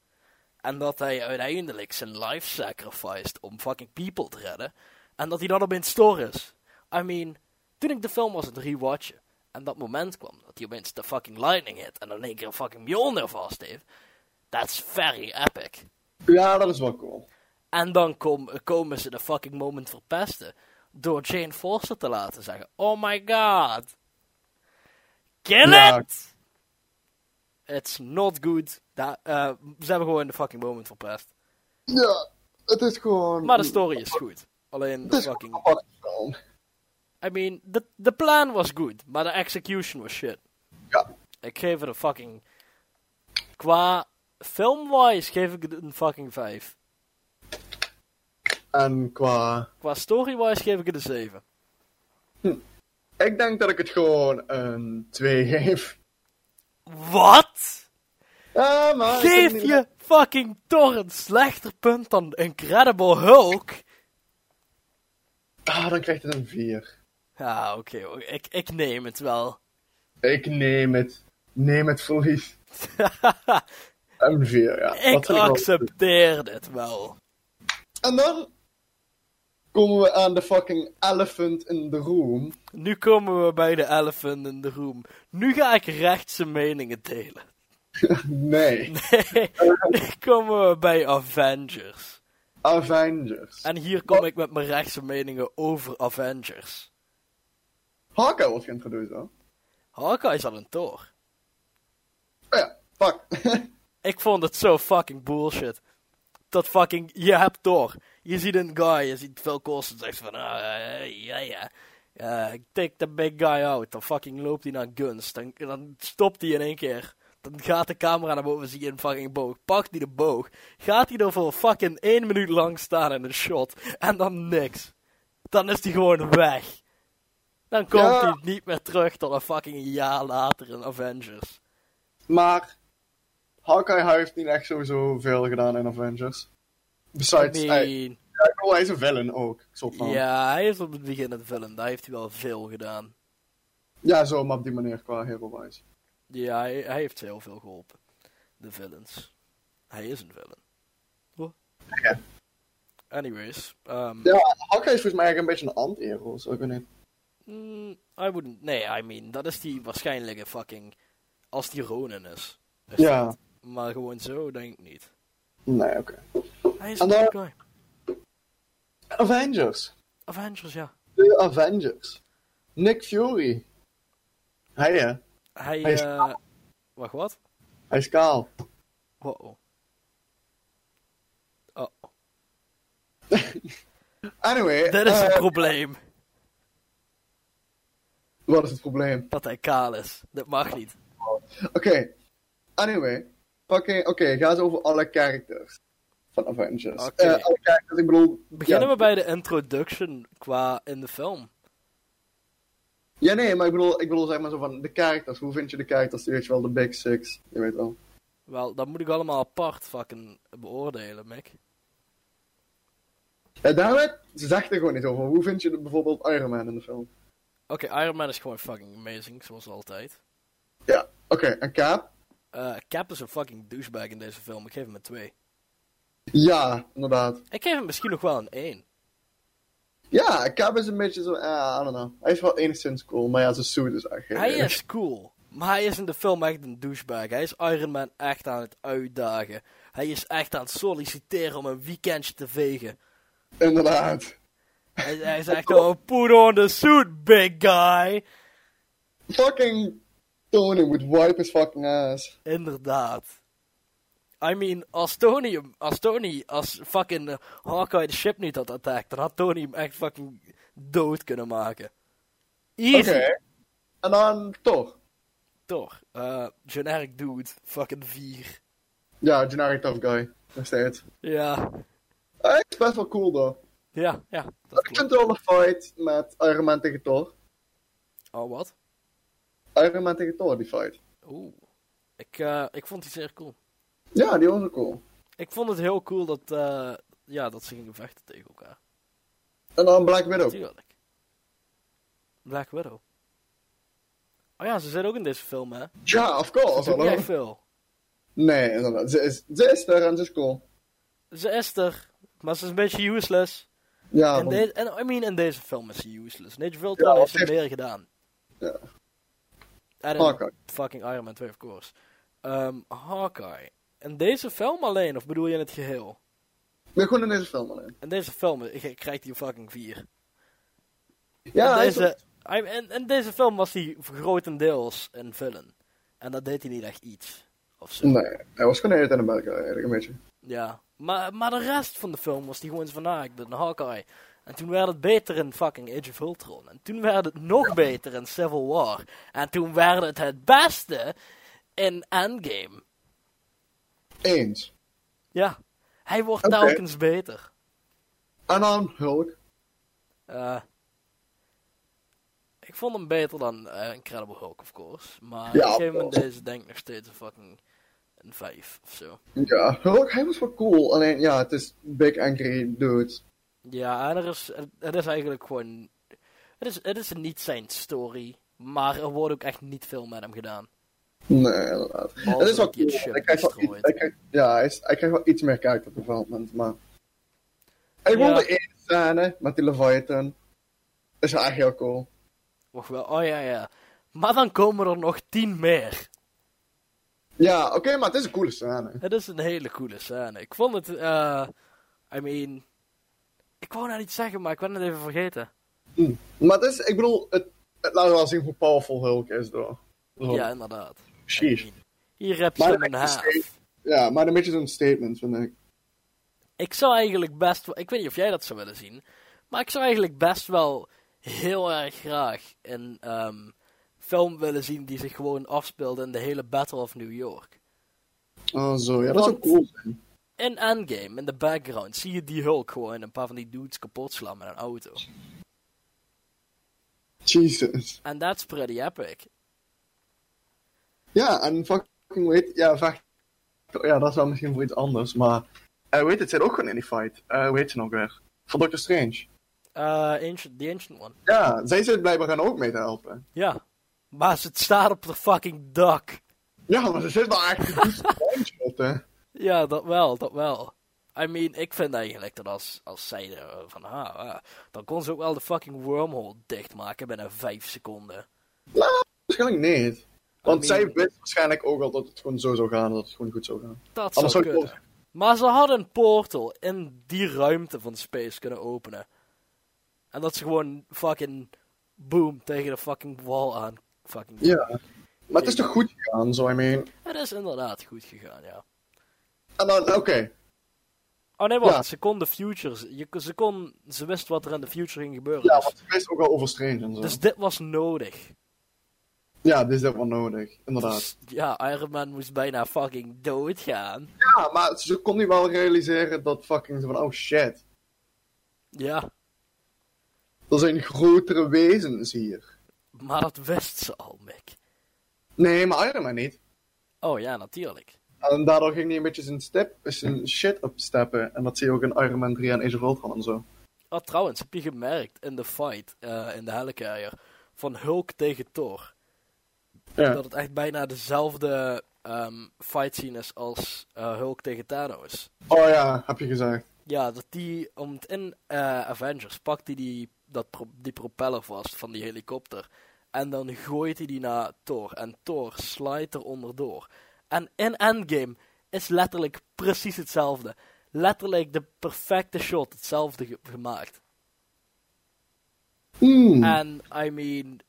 En dat hij uiteindelijk zijn life sacrificed om fucking people te redden. En dat hij dan opeens Thor is. I mean, toen ik de film was aan het rewatchen en dat moment kwam dat hij opeens de fucking lightning hit en dan in één keer een fucking Mjolnir vast heeft. That's very epic. Ja, dat is wel cool. En dan kom- komen ze de fucking moment verpesten. Door Jane Forster te laten zeggen: Oh my god. Kill Ja. it! It's not good. Da- eh, ze hebben gewoon de fucking moment verpest. Ja, het is gewoon. Maar de story is goed. Alleen Het de is fucking. fucking. Een aparte film. I mean, de- de plan was goed, maar de execution was shit. Ja. Ik geef het een fucking. Qua film-wise geef ik het een fucking 5. En qua. Qua story-wise geef ik het een 7. Ik denk dat ik het gewoon een 2 geef. Ah, Wat? Ja, maar. ik vind Geef het niet- je fucking torrent slechter punt dan Incredible Hulk. Ah, dan krijgt het een 4. Ja, oké, hoor. ik, ik neem het wel. [LAUGHS] Ik neem het. Neem het voor lief. Een 4, ja. Dat ik vind wel goed. accepteer dit wel. En dan komen we aan de fucking elephant in the room. [LAUGHS] Nu komen we bij de elephant in the room. Nu ga ik rechtse meningen delen. [LAUGHS] Nee. Nee, nu komen we bij Avengers. Avengers. En hier kom ik met mijn rechtse meningen over Avengers. Hawkeye wordt geïntroduceerd, hoor. Hawkeye is al een toor. Oh ja, fuck. [LAUGHS] Ik vond het zo fucking bullshit. Dat fucking, je hebt door. Je ziet een guy, je ziet Phil Coulson zegt van, ah, ja, ja. Eh, take the big guy out. Dan fucking loopt hij naar guns. Dan, dan stopt hij in één keer. Dan gaat de camera naar boven, zie je een fucking boog. Pakt hij de boog. Gaat hij er voor fucking één minuut lang staan in een shot. En dan niks. Dan is hij gewoon weg. Dan komt Ja. hij niet meer terug tot een fucking jaar later in Avengers. maar Hawkeye hij heeft niet echt sowieso veel gedaan in Avengers. Besides, I hij, mean, ja, oh, hij is een villain ook, soort van. ja, hij heeft op het begin een film, daar heeft hij wel veel gedaan. Ja, zo, maar op die manier qua hero-wise. Ja, hij, hij heeft heel veel geholpen. De villains. Hij is een villain. Huh? Ja. Anyways, um, Ja, Hawkeye is volgens mij eigenlijk een beetje een anti-hero, zo ik weet niet. mm, I wouldn't, nee, I mean, dat is die waarschijnlijke fucking, als die Ronin is. is Ja. dat. Maar gewoon zo, denk ik niet. Nee, oké. Hij is En een dan- good guy. Avengers. Avengers, ja. De Avengers. Nick Fury. Hij, hè? Hij, Hij is- eh, wacht, wat? Hij is kaal. Wow. Oh, Anyway, dit is eh, een probleem. wat is het probleem? dat hij kaal is. Dat mag niet. Oké, anyway. Oké, oké, ga eens over alle characters van Avengers. Oké. Eh, alle characters, ik bedoel... Beginnen ja, we bij de introduction qua in de film. Ja, nee, maar ik bedoel, ik bedoel zeg maar zo van de characters. Hoe vind je de characters? Weet je wel, de big six. Je weet wel. Wel, dat moet ik allemaal apart fucking beoordelen, Mick. Ja, daaruit, ze zegt er gewoon niet over. Hoe vind je de- bijvoorbeeld Iron Man in de film? Oké, Iron Man is gewoon fucking amazing, zoals altijd. Ja, oké, en Cap? Eh, Cap is een fucking douchebag in deze film. Ik geef hem een 2. Ja, inderdaad. Ik geef hem misschien nog wel een 1. Ja, Cap is een beetje zo, eh, I don't know. Hij is wel enigszins cool, maar ja, zijn suit is echt... Hij is cool, maar hij is in de film echt een douchebag. Hij is Iron Man echt aan het uitdagen. Hij is echt aan het solliciteren om een weekendje te vegen. Inderdaad. Hij, hij [LAUGHS] zegt oh, put on the suit, big guy. Fucking Tony would wipe his fucking ass. Inderdaad. I mean, als Tony hem, als Tony, als fucking eh, Hawkeye de ship niet had attacked, dan had Tony hem echt fucking dood kunnen maken. Oké. Easy. En dan toch. Toch. Eh, generic dude, fucking 4. Ja, generic tough guy. Nog steeds. Ja, Hij is best wel cool, though. ja, ja. Dat Ik klopt. vind wel de fight met Iron Man tegen Thor. Oh, wat? Iron Man tegen Thor, die fight. Oeh. Ik, eh, ik vond die zeer cool. Ja, die was ook cool. Ik vond het heel cool dat, eh, ja, dat ze gingen vechten tegen elkaar. En dan Black Widow. Tuurlijk. Black Widow. Oh ja, ze zit ook in deze film, hè? Ja, of course. Doet niet hallo. echt veel. Nee, inderdaad. Ze is, ze is er en ze is cool. Ze is er, maar ze is een beetje useless. Ja, en, want- de, en I mean, in deze film is ze useless. Nate Ja, Viltron heeft ze echt. meer gedaan. Ja. En in Hawkeye. fucking Iron Man 2, of course. Ehm, Hawkeye. In deze film alleen, of bedoel je in het geheel? Nee, gewoon in deze film alleen. In deze film eh, ge- krijgt hij een fucking 4. Ja, in, hij is deze, I- in, in deze film was hij grotendeels een villain. En dat deed hij niet echt iets. Of zo. Nee, hij was gewoon een hele tijd een bad guy, eigenlijk een beetje. Ja, maar, maar de rest van de film was die gewoon zo van, ah, ik ben een Hawkeye. En toen werd het beter in fucking Age of Ultron. En toen werd het nog beter in Civil War. En toen werd het het beste in Endgame. Eens. Ja, hij wordt Oké. telkens beter. En dan Hulk. Eh, ik vond hem beter dan eh, Incredible Hulk, of course. Maar Ja, ik geef hem of course. deze denk ik nog steeds een fucking en 5 of zo. Ja, Rock, hij was wel cool. Alleen ja, het is big angry dude. Ja, en er is, het is eigenlijk gewoon. Het is, het is niet zijn story, maar er wordt ook echt niet veel met hem gedaan. Nee, inderdaad. Behalve Het is wel dat hij cool. het Hij ship krijgt wel iets, destroyed. hij krijgt, ja, hij, is- hij krijgt wel iets meer character development, maar... En ik Ja. vond de ene scène met die Leviathan. Is wel echt heel cool. Wacht wel, oh ja, ja. Maar dan komen er nog 10 meer. Ja, oké, maar het is een coole scène. Het is een hele coole scène. Ik vond het, eh. I mean. Ik wou nou iets zeggen, maar ik ben het even vergeten. Maar het is, ik bedoel, het, het laat wel zien hoe powerful Hulk is, door. Zo, Ja, inderdaad. Oh. precies. Hier heb je Maar hem dan een heb je haaf. steeds- Ja, maar een beetje zo'n statement, vind ik. Ik zou eigenlijk best wel. Ik weet niet of jij dat zou willen zien. Maar ik zou eigenlijk best wel heel erg graag een ehm, film willen zien die zich gewoon afspeelt in de hele Battle of New York. Oh, zo, ja, dat zou Want- cool zijn. In Endgame, in de background, zie je die Hulk gewoon een paar van die dudes kapot slaan met een auto. Jesus. En that's pretty epic. Ja, en fucking weet, ja, vaak... Ja, dat is wel misschien voor iets anders, maar... eh weet het, zit ook gewoon in die fight. Eh weet je nog weer? Van Doctor Strange. Eh, ancient, the Ancient One. Ja, zij zit blijkbaar gaan ook mee te helpen. Ja. Maar ze staat op de fucking dak. Ja, maar ze zit wel echt [LAUGHS] goed te lijnschotten. Ja, dat wel, dat wel. I mean, ik vind eigenlijk dat als, als zij er van haar, ah, dan kon ze ook wel de fucking wormhole dichtmaken binnen 5 seconden. Nou, waarschijnlijk niet. Want I zij mean- wist waarschijnlijk ook al dat het gewoon zo zou gaan, dat het gewoon goed zou gaan. Dat Anders zou zou ik kunnen. Maar ze hadden een portal in die ruimte van space kunnen openen. En dat ze gewoon fucking boom tegen de fucking wall aan. Fucking... Ja. Maar het is toch goed gegaan, zo, I mean. Het is inderdaad goed gegaan, ja. En dan, oké. Oh nee, wacht. Ja. Ze kon de futures. Je, ze, kon, ze wist wat er in de future ging gebeuren. Ja, dus- want ze wist ook al over Strange en zo. dus dit was nodig. Ja, dit is dat wel nodig, inderdaad. Dus, ja, Iron Man moest bijna fucking doodgaan. Ja, maar ze kon nu wel realiseren dat fucking, zo van, oh shit. Ja, Er zijn grotere wezens hier. maar dat wist ze al, Mick. Nee, maar Iron Man niet. Oh ja, natuurlijk. En daardoor ging hij een beetje zijn, step, zijn shit opsteppen. En dat zie je ook in Iron Man 3 en Age of Ultron en zo. Oh, trouwens, heb je gemerkt in de fight eh, in de Helicarrier van Hulk tegen Thor Ja. dat het echt bijna dezelfde ehm, fight scene is als eh, Hulk tegen Thanos? Oh ja, heb je gezegd. Ja, dat die, om in eh, Avengers pakt hij die, dat pro- die propeller vast van die helikopter. En dan gooit hij die naar Thor. En Thor slijt er onderdoor. En in Endgame is letterlijk precies hetzelfde. Letterlijk de perfecte shot, hetzelfde ge- gemaakt. Hmm. En, I mean,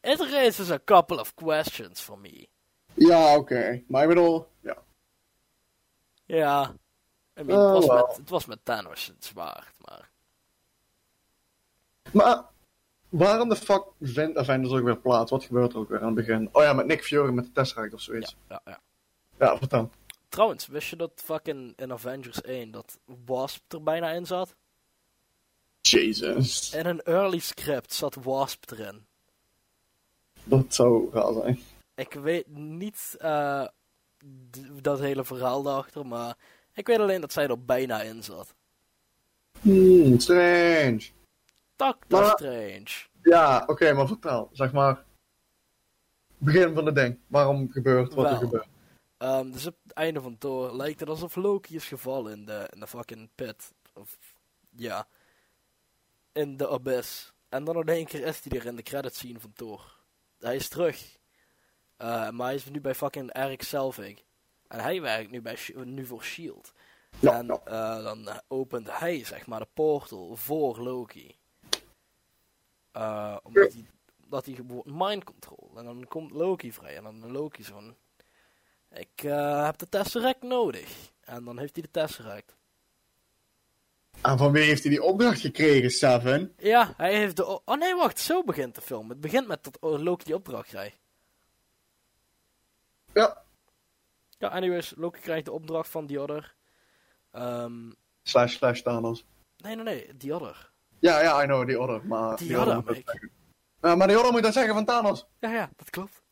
it raises a couple of questions for me. Ja, oké. Maar ik bedoel, ja. Ja, I mean, Oh, het, was wel. met, het was met Thanos het zwaard, maar... Maar waarom de fuck vindt Avengers ook weer plaats? Wat gebeurt er ook weer aan het begin? Oh ja, met Nick Fury met de Tesseract of Ja, zoiets. ja, ja. Ja, vertel. Trouwens, wist je dat fucking in Avengers 1 dat Wasp er bijna in zat? Jesus. In een early script zat Wasp erin. Dat zou raar zijn. Ik weet niet eh, d- dat hele verhaal daarachter, maar ik weet alleen dat zij er bijna in zat. Hmm, strange. Tak, dat is Maar- strange. Ja, oké, maar vertel. Zeg maar. Begin van de ding. Waarom gebeurt wat er Wel. gebeurt? Ehm, dus op het einde van Thor lijkt het alsof Loki is gevallen in de, in de fucking pit. Of, ja. In de abyss. En dan in één keer is hij er in de credits scene van Thor. Hij is terug. Eh, maar hij is nu bij fucking Eric Selvig. En hij werkt nu, bij, Sh- nu voor S.H.I.E.L.D. Ja, E en ja. eh, dan opent hij zeg maar de portal voor Loki. Eh, omdat hij, omdat hij gewoon mind control. En dan komt Loki vrij. En dan Loki zo van... Ik eh, heb de Tesseract nodig. En dan heeft hij de Tesseract. En van wie heeft hij die opdracht gekregen, Seven? Ja, hij heeft de... o- Oh nee, wacht. Zo begint de film. Het begint met dat oh, Loki die opdracht krijgt. Ja. Ja, anyways. Loki krijgt de opdracht van The Other. Ehm, Slash, slash Thanos. nee, nee, nee. The Other. Ja, ja, I know, die order, maar... Die die order Other, Ah, moet dat Mick. zeggen. Ja, maar die order moet dat zeggen van Thanos. Ja, ja. Dat klopt.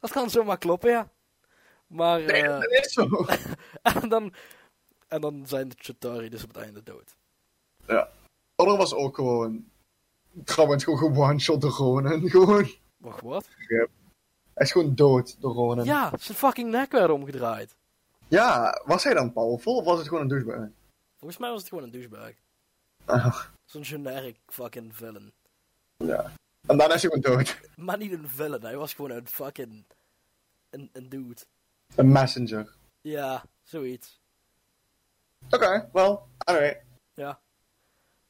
Dat kan zomaar kloppen, ja. Maar, Nee, eh, dat is zo. [LAUGHS] [LAUGHS] en, dan, en dan zijn de Chitauri dus op het einde dood. Order was ook gewoon. Trouwens, gewoon one-shot de Ronin. [LAUGHS] Gewoon. Wacht, wat? Hij is gewoon dood, de Ronin. Ja, zijn fucking nek werd omgedraaid. Ja, was hij dan powerful of was het gewoon een douchebag? Volgens mij was het gewoon een douchebag. Ah, Zo'n generic fucking villain. ja. En daarna is hij gewoon dood. Maar niet een villain, hij was gewoon een fucking... Een, een dude. Een messenger. Ja, zoiets. Oké, wel, anyway. Ja.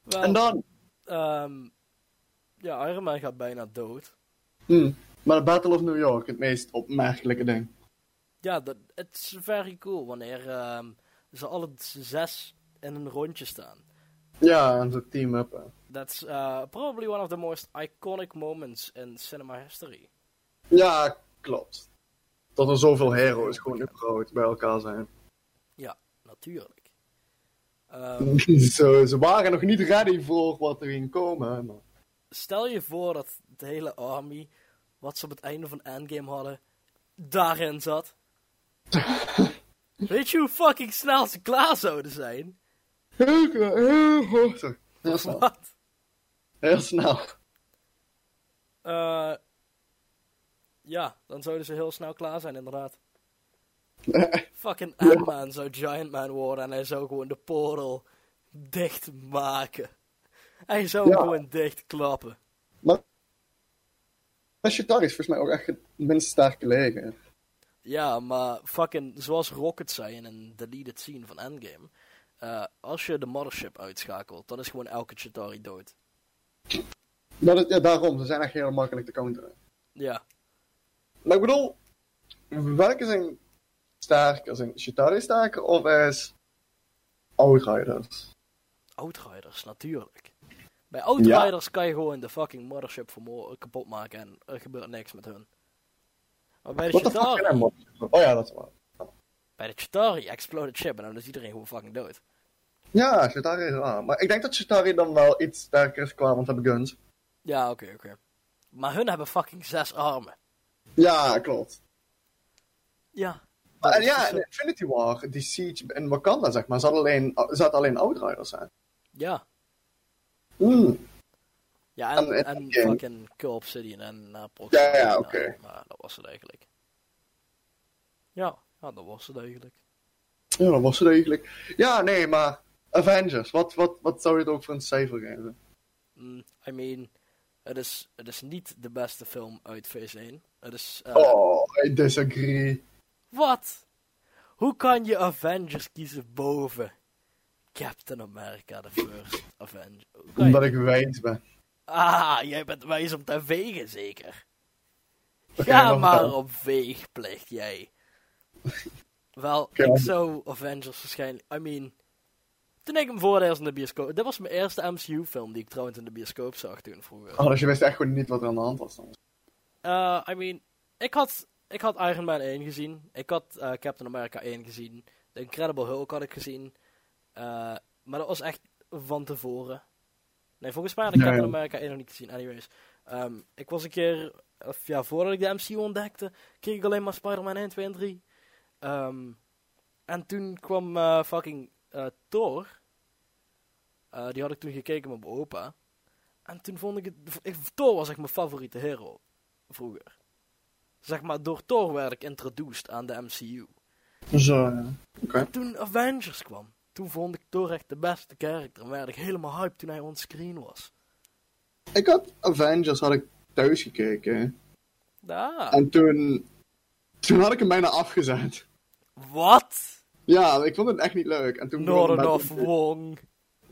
Wel, En dan? ehm, ja, Iron Man gaat bijna dood. Hm, maar de Battle of New York, het meest opmerkelijke ding. Ja, dat, het is very cool wanneer ehm, ze alle zes in een rondje staan. Ja, en zo'n team-up. hè. That's uh, probably one of the most iconic moments in cinema history. Ja, klopt. Dat er zoveel heroes gewoon in groot bij elkaar zijn. [LAUGHS] Ja, natuurlijk. Ehm, Zo, ze waren nog niet ready voor wat er ging komen. Maar... stel je voor dat de hele army, wat ze op het einde van Endgame hadden, daarin [LAUGHS] zat. Weet je hoe fucking snel ze klaar zouden zijn? Heel, kra- heel, ho- sorry. heel snel. Wat? Heel snel. [LAUGHS] Eh, ja, dan zouden ze heel snel klaar zijn, inderdaad. Fucking Ant-Man zou Giant Man worden en hij zou gewoon de portal dichtmaken. Hij zou Ja. hem gewoon dichtklappen. maar Shitari is volgens mij ook echt het minst sterke leger. Ja, maar fucking, zoals Rocket zei in een deleted scene van Endgame. eh, als je de mothership uitschakelt, dan is gewoon elke Chitari dood. Dat is, ja, daarom. Ze zijn echt heel makkelijk te counteren. Ja, Maar ik bedoel, welke zijn sterker? Zijn Shitari sterker of is Outriders? Outriders, natuurlijk. Bij Outriders kan je gewoon de fucking mothership vermo- kapot maken en er gebeurt niks met hun. Maar bij de Wat de fuck zijn Chitari, er mob? Oh ja, dat is waar. bij de Chitari explode het chip en dan is iedereen gewoon fucking dood. Ja, Shitari is waar. Maar ik denk dat Shitari dan wel iets sterker is qua, want ze hebben guns. Ja, oké, oké. Maar hun hebben fucking zes armen. Ja, klopt. Ja. Maar, Dat en is Ah, ja, dus, in eh, Infinity War, die siege in Wakanda, zeg maar, zat alleen, zat alleen Outriders zijn. ja. Mm. Ja, en, En- en, en- fucking Kill Obsidian en uh, Ja, ja, oké. nou, Maar dat was het eigenlijk. Ja, ja, dat was het eigenlijk. Ja, dat was het eigenlijk. Ja, nee, maar Avengers, wat, wat, wat zou je het ook voor een cijfer geven? Mm, I mean, het is, het is niet de beste film uit Phase 1. Het is... eh, Oh, I disagree. Wat? Hoe kan je Avengers kiezen boven Captain America, de first Avenger? Hoe kan je- Omdat ik wijd ben. Ah, jij bent wijs om te vegen, zeker? Oké, Ga dan maar vertel. op veegplicht, [LAUGHS] jij. Wel, Oké, ik dan- zou Avengers waarschijnlijk... I mean... Toen ik hem voor het eerst in de bioscoop... Dit was mijn eerste MCU-film die ik trouwens in de bioscoop zag toen vroeger. Oh, dus je wist echt gewoon niet wat er aan de hand was. dan. Eh, I mean, ik had, ik had Iron Man 1 gezien. Ik had eh, Captain America 1 gezien. The Incredible Hulk had ik gezien. Eh, maar dat was echt van tevoren. Nee, volgens mij had ik Ja, ja. Captain America 1 nog niet gezien. Anyways. Ehm, ik was een keer, of ja, voordat ik de MCU ontdekte, keek ik alleen maar Spider-Man 1, 2 en 3. Ehm, en toen kwam eh, fucking eh, Thor. Eh, die had ik toen gekeken met mijn opa. En toen vond ik het... Ik, Thor was echt mijn favoriete hero vroeger. Zeg maar, door Thor werd ik introduced aan de MCU. Zo, ja. Oké. Toen Avengers kwam, toen vond ik Thor echt de beste character. En werd ik helemaal hyped toen hij on screen was. Ik had Avengers had ik thuis gekeken. Ah, En toen, toen had ik hem bijna afgezet. wat? Ja, ik vond het echt niet leuk. En toen, begon de Northern Battle of Wong.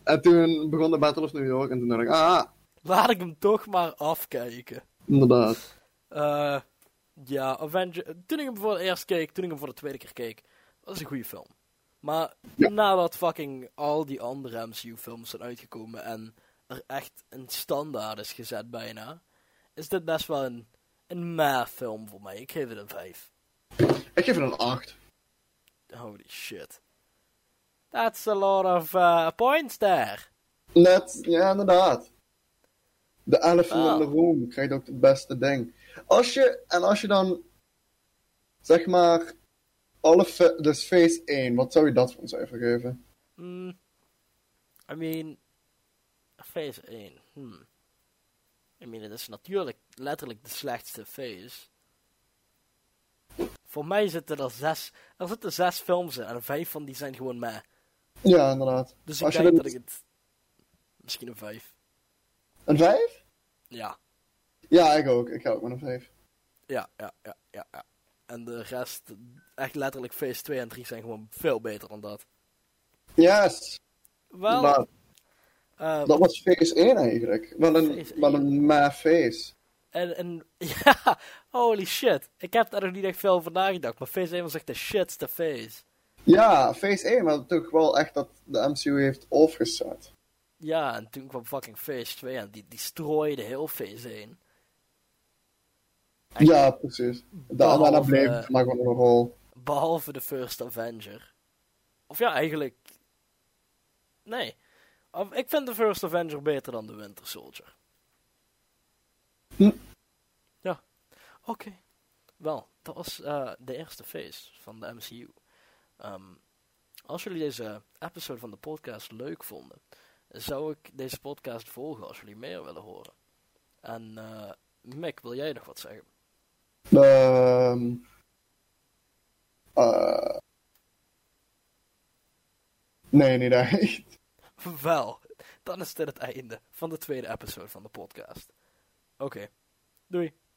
en toen begon de Battle of New York en toen dacht ik, ah, Laat ik hem toch maar afkijken. inderdaad. Eh, ja, Avengers... Toen ik hem voor het eerst keek, toen ik hem voor de tweede keer keek... Dat is een goede film. Maar Ja. nadat fucking al die andere MCU-films zijn uitgekomen... en er echt een standaard is gezet bijna... is dit best wel een, een meh-film voor mij. Ik geef het een 5. Ik geef het een 8. Holy shit. That's a lot of eh, points there. Net, ja, inderdaad. De elephant Wow. in the room krijgt ook het beste ding. Als je, en als je dan, zeg maar, alle fa- dus phase 1, wat zou je dat voor een cijfer geven? Mm, I mean, phase 1. Hmm. I mean, het is natuurlijk letterlijk de slechtste phase. Voor mij zitten er zes, er zitten zes films in en vijf van die zijn gewoon meh. Ja, inderdaad. Dus ik Als je denk dat dit- ik het... Misschien een vijf. Een 5? Ja, Ja, ik ook. Ik ga ook met een 5. ja, ja, ja, ja. ja. En de rest, echt letterlijk phase 2 en 3 zijn gewoon veel beter dan dat. Yes! Wel, Nou, eh, dat was phase 1 eigenlijk. Wel een, Phase wel een maar phase. En, en [LAUGHS] ja, holy shit. Ik heb daar nog niet echt veel over nagedacht, maar Phase 1 was echt de shitste phase. Ja, phase 1, maar toch wel echt dat de MCU heeft overgezet. Ja, en toen kwam fucking Phase 2 en die, die strooide heel Phase 1. Echt, eh, Ja, precies. Da- Behalve- Daarna bleef het maar gewoon een rol. Behalve de First Avenger. Of ja, eigenlijk... Nee. Of, ik vind de First Avenger beter dan de Winter Soldier. Hm. Ja. Oké. Wel, dat was eh, de eerste phase van de MCU. Ehm, als jullie deze episode van de podcast leuk vonden, zou ik deze podcast volgen als jullie meer willen horen. En eh Mick, wil jij nog wat zeggen? Ehm eh, nee, niet echt. Wel, dan is dit het einde van de tweede episode van de podcast. Oké, doei.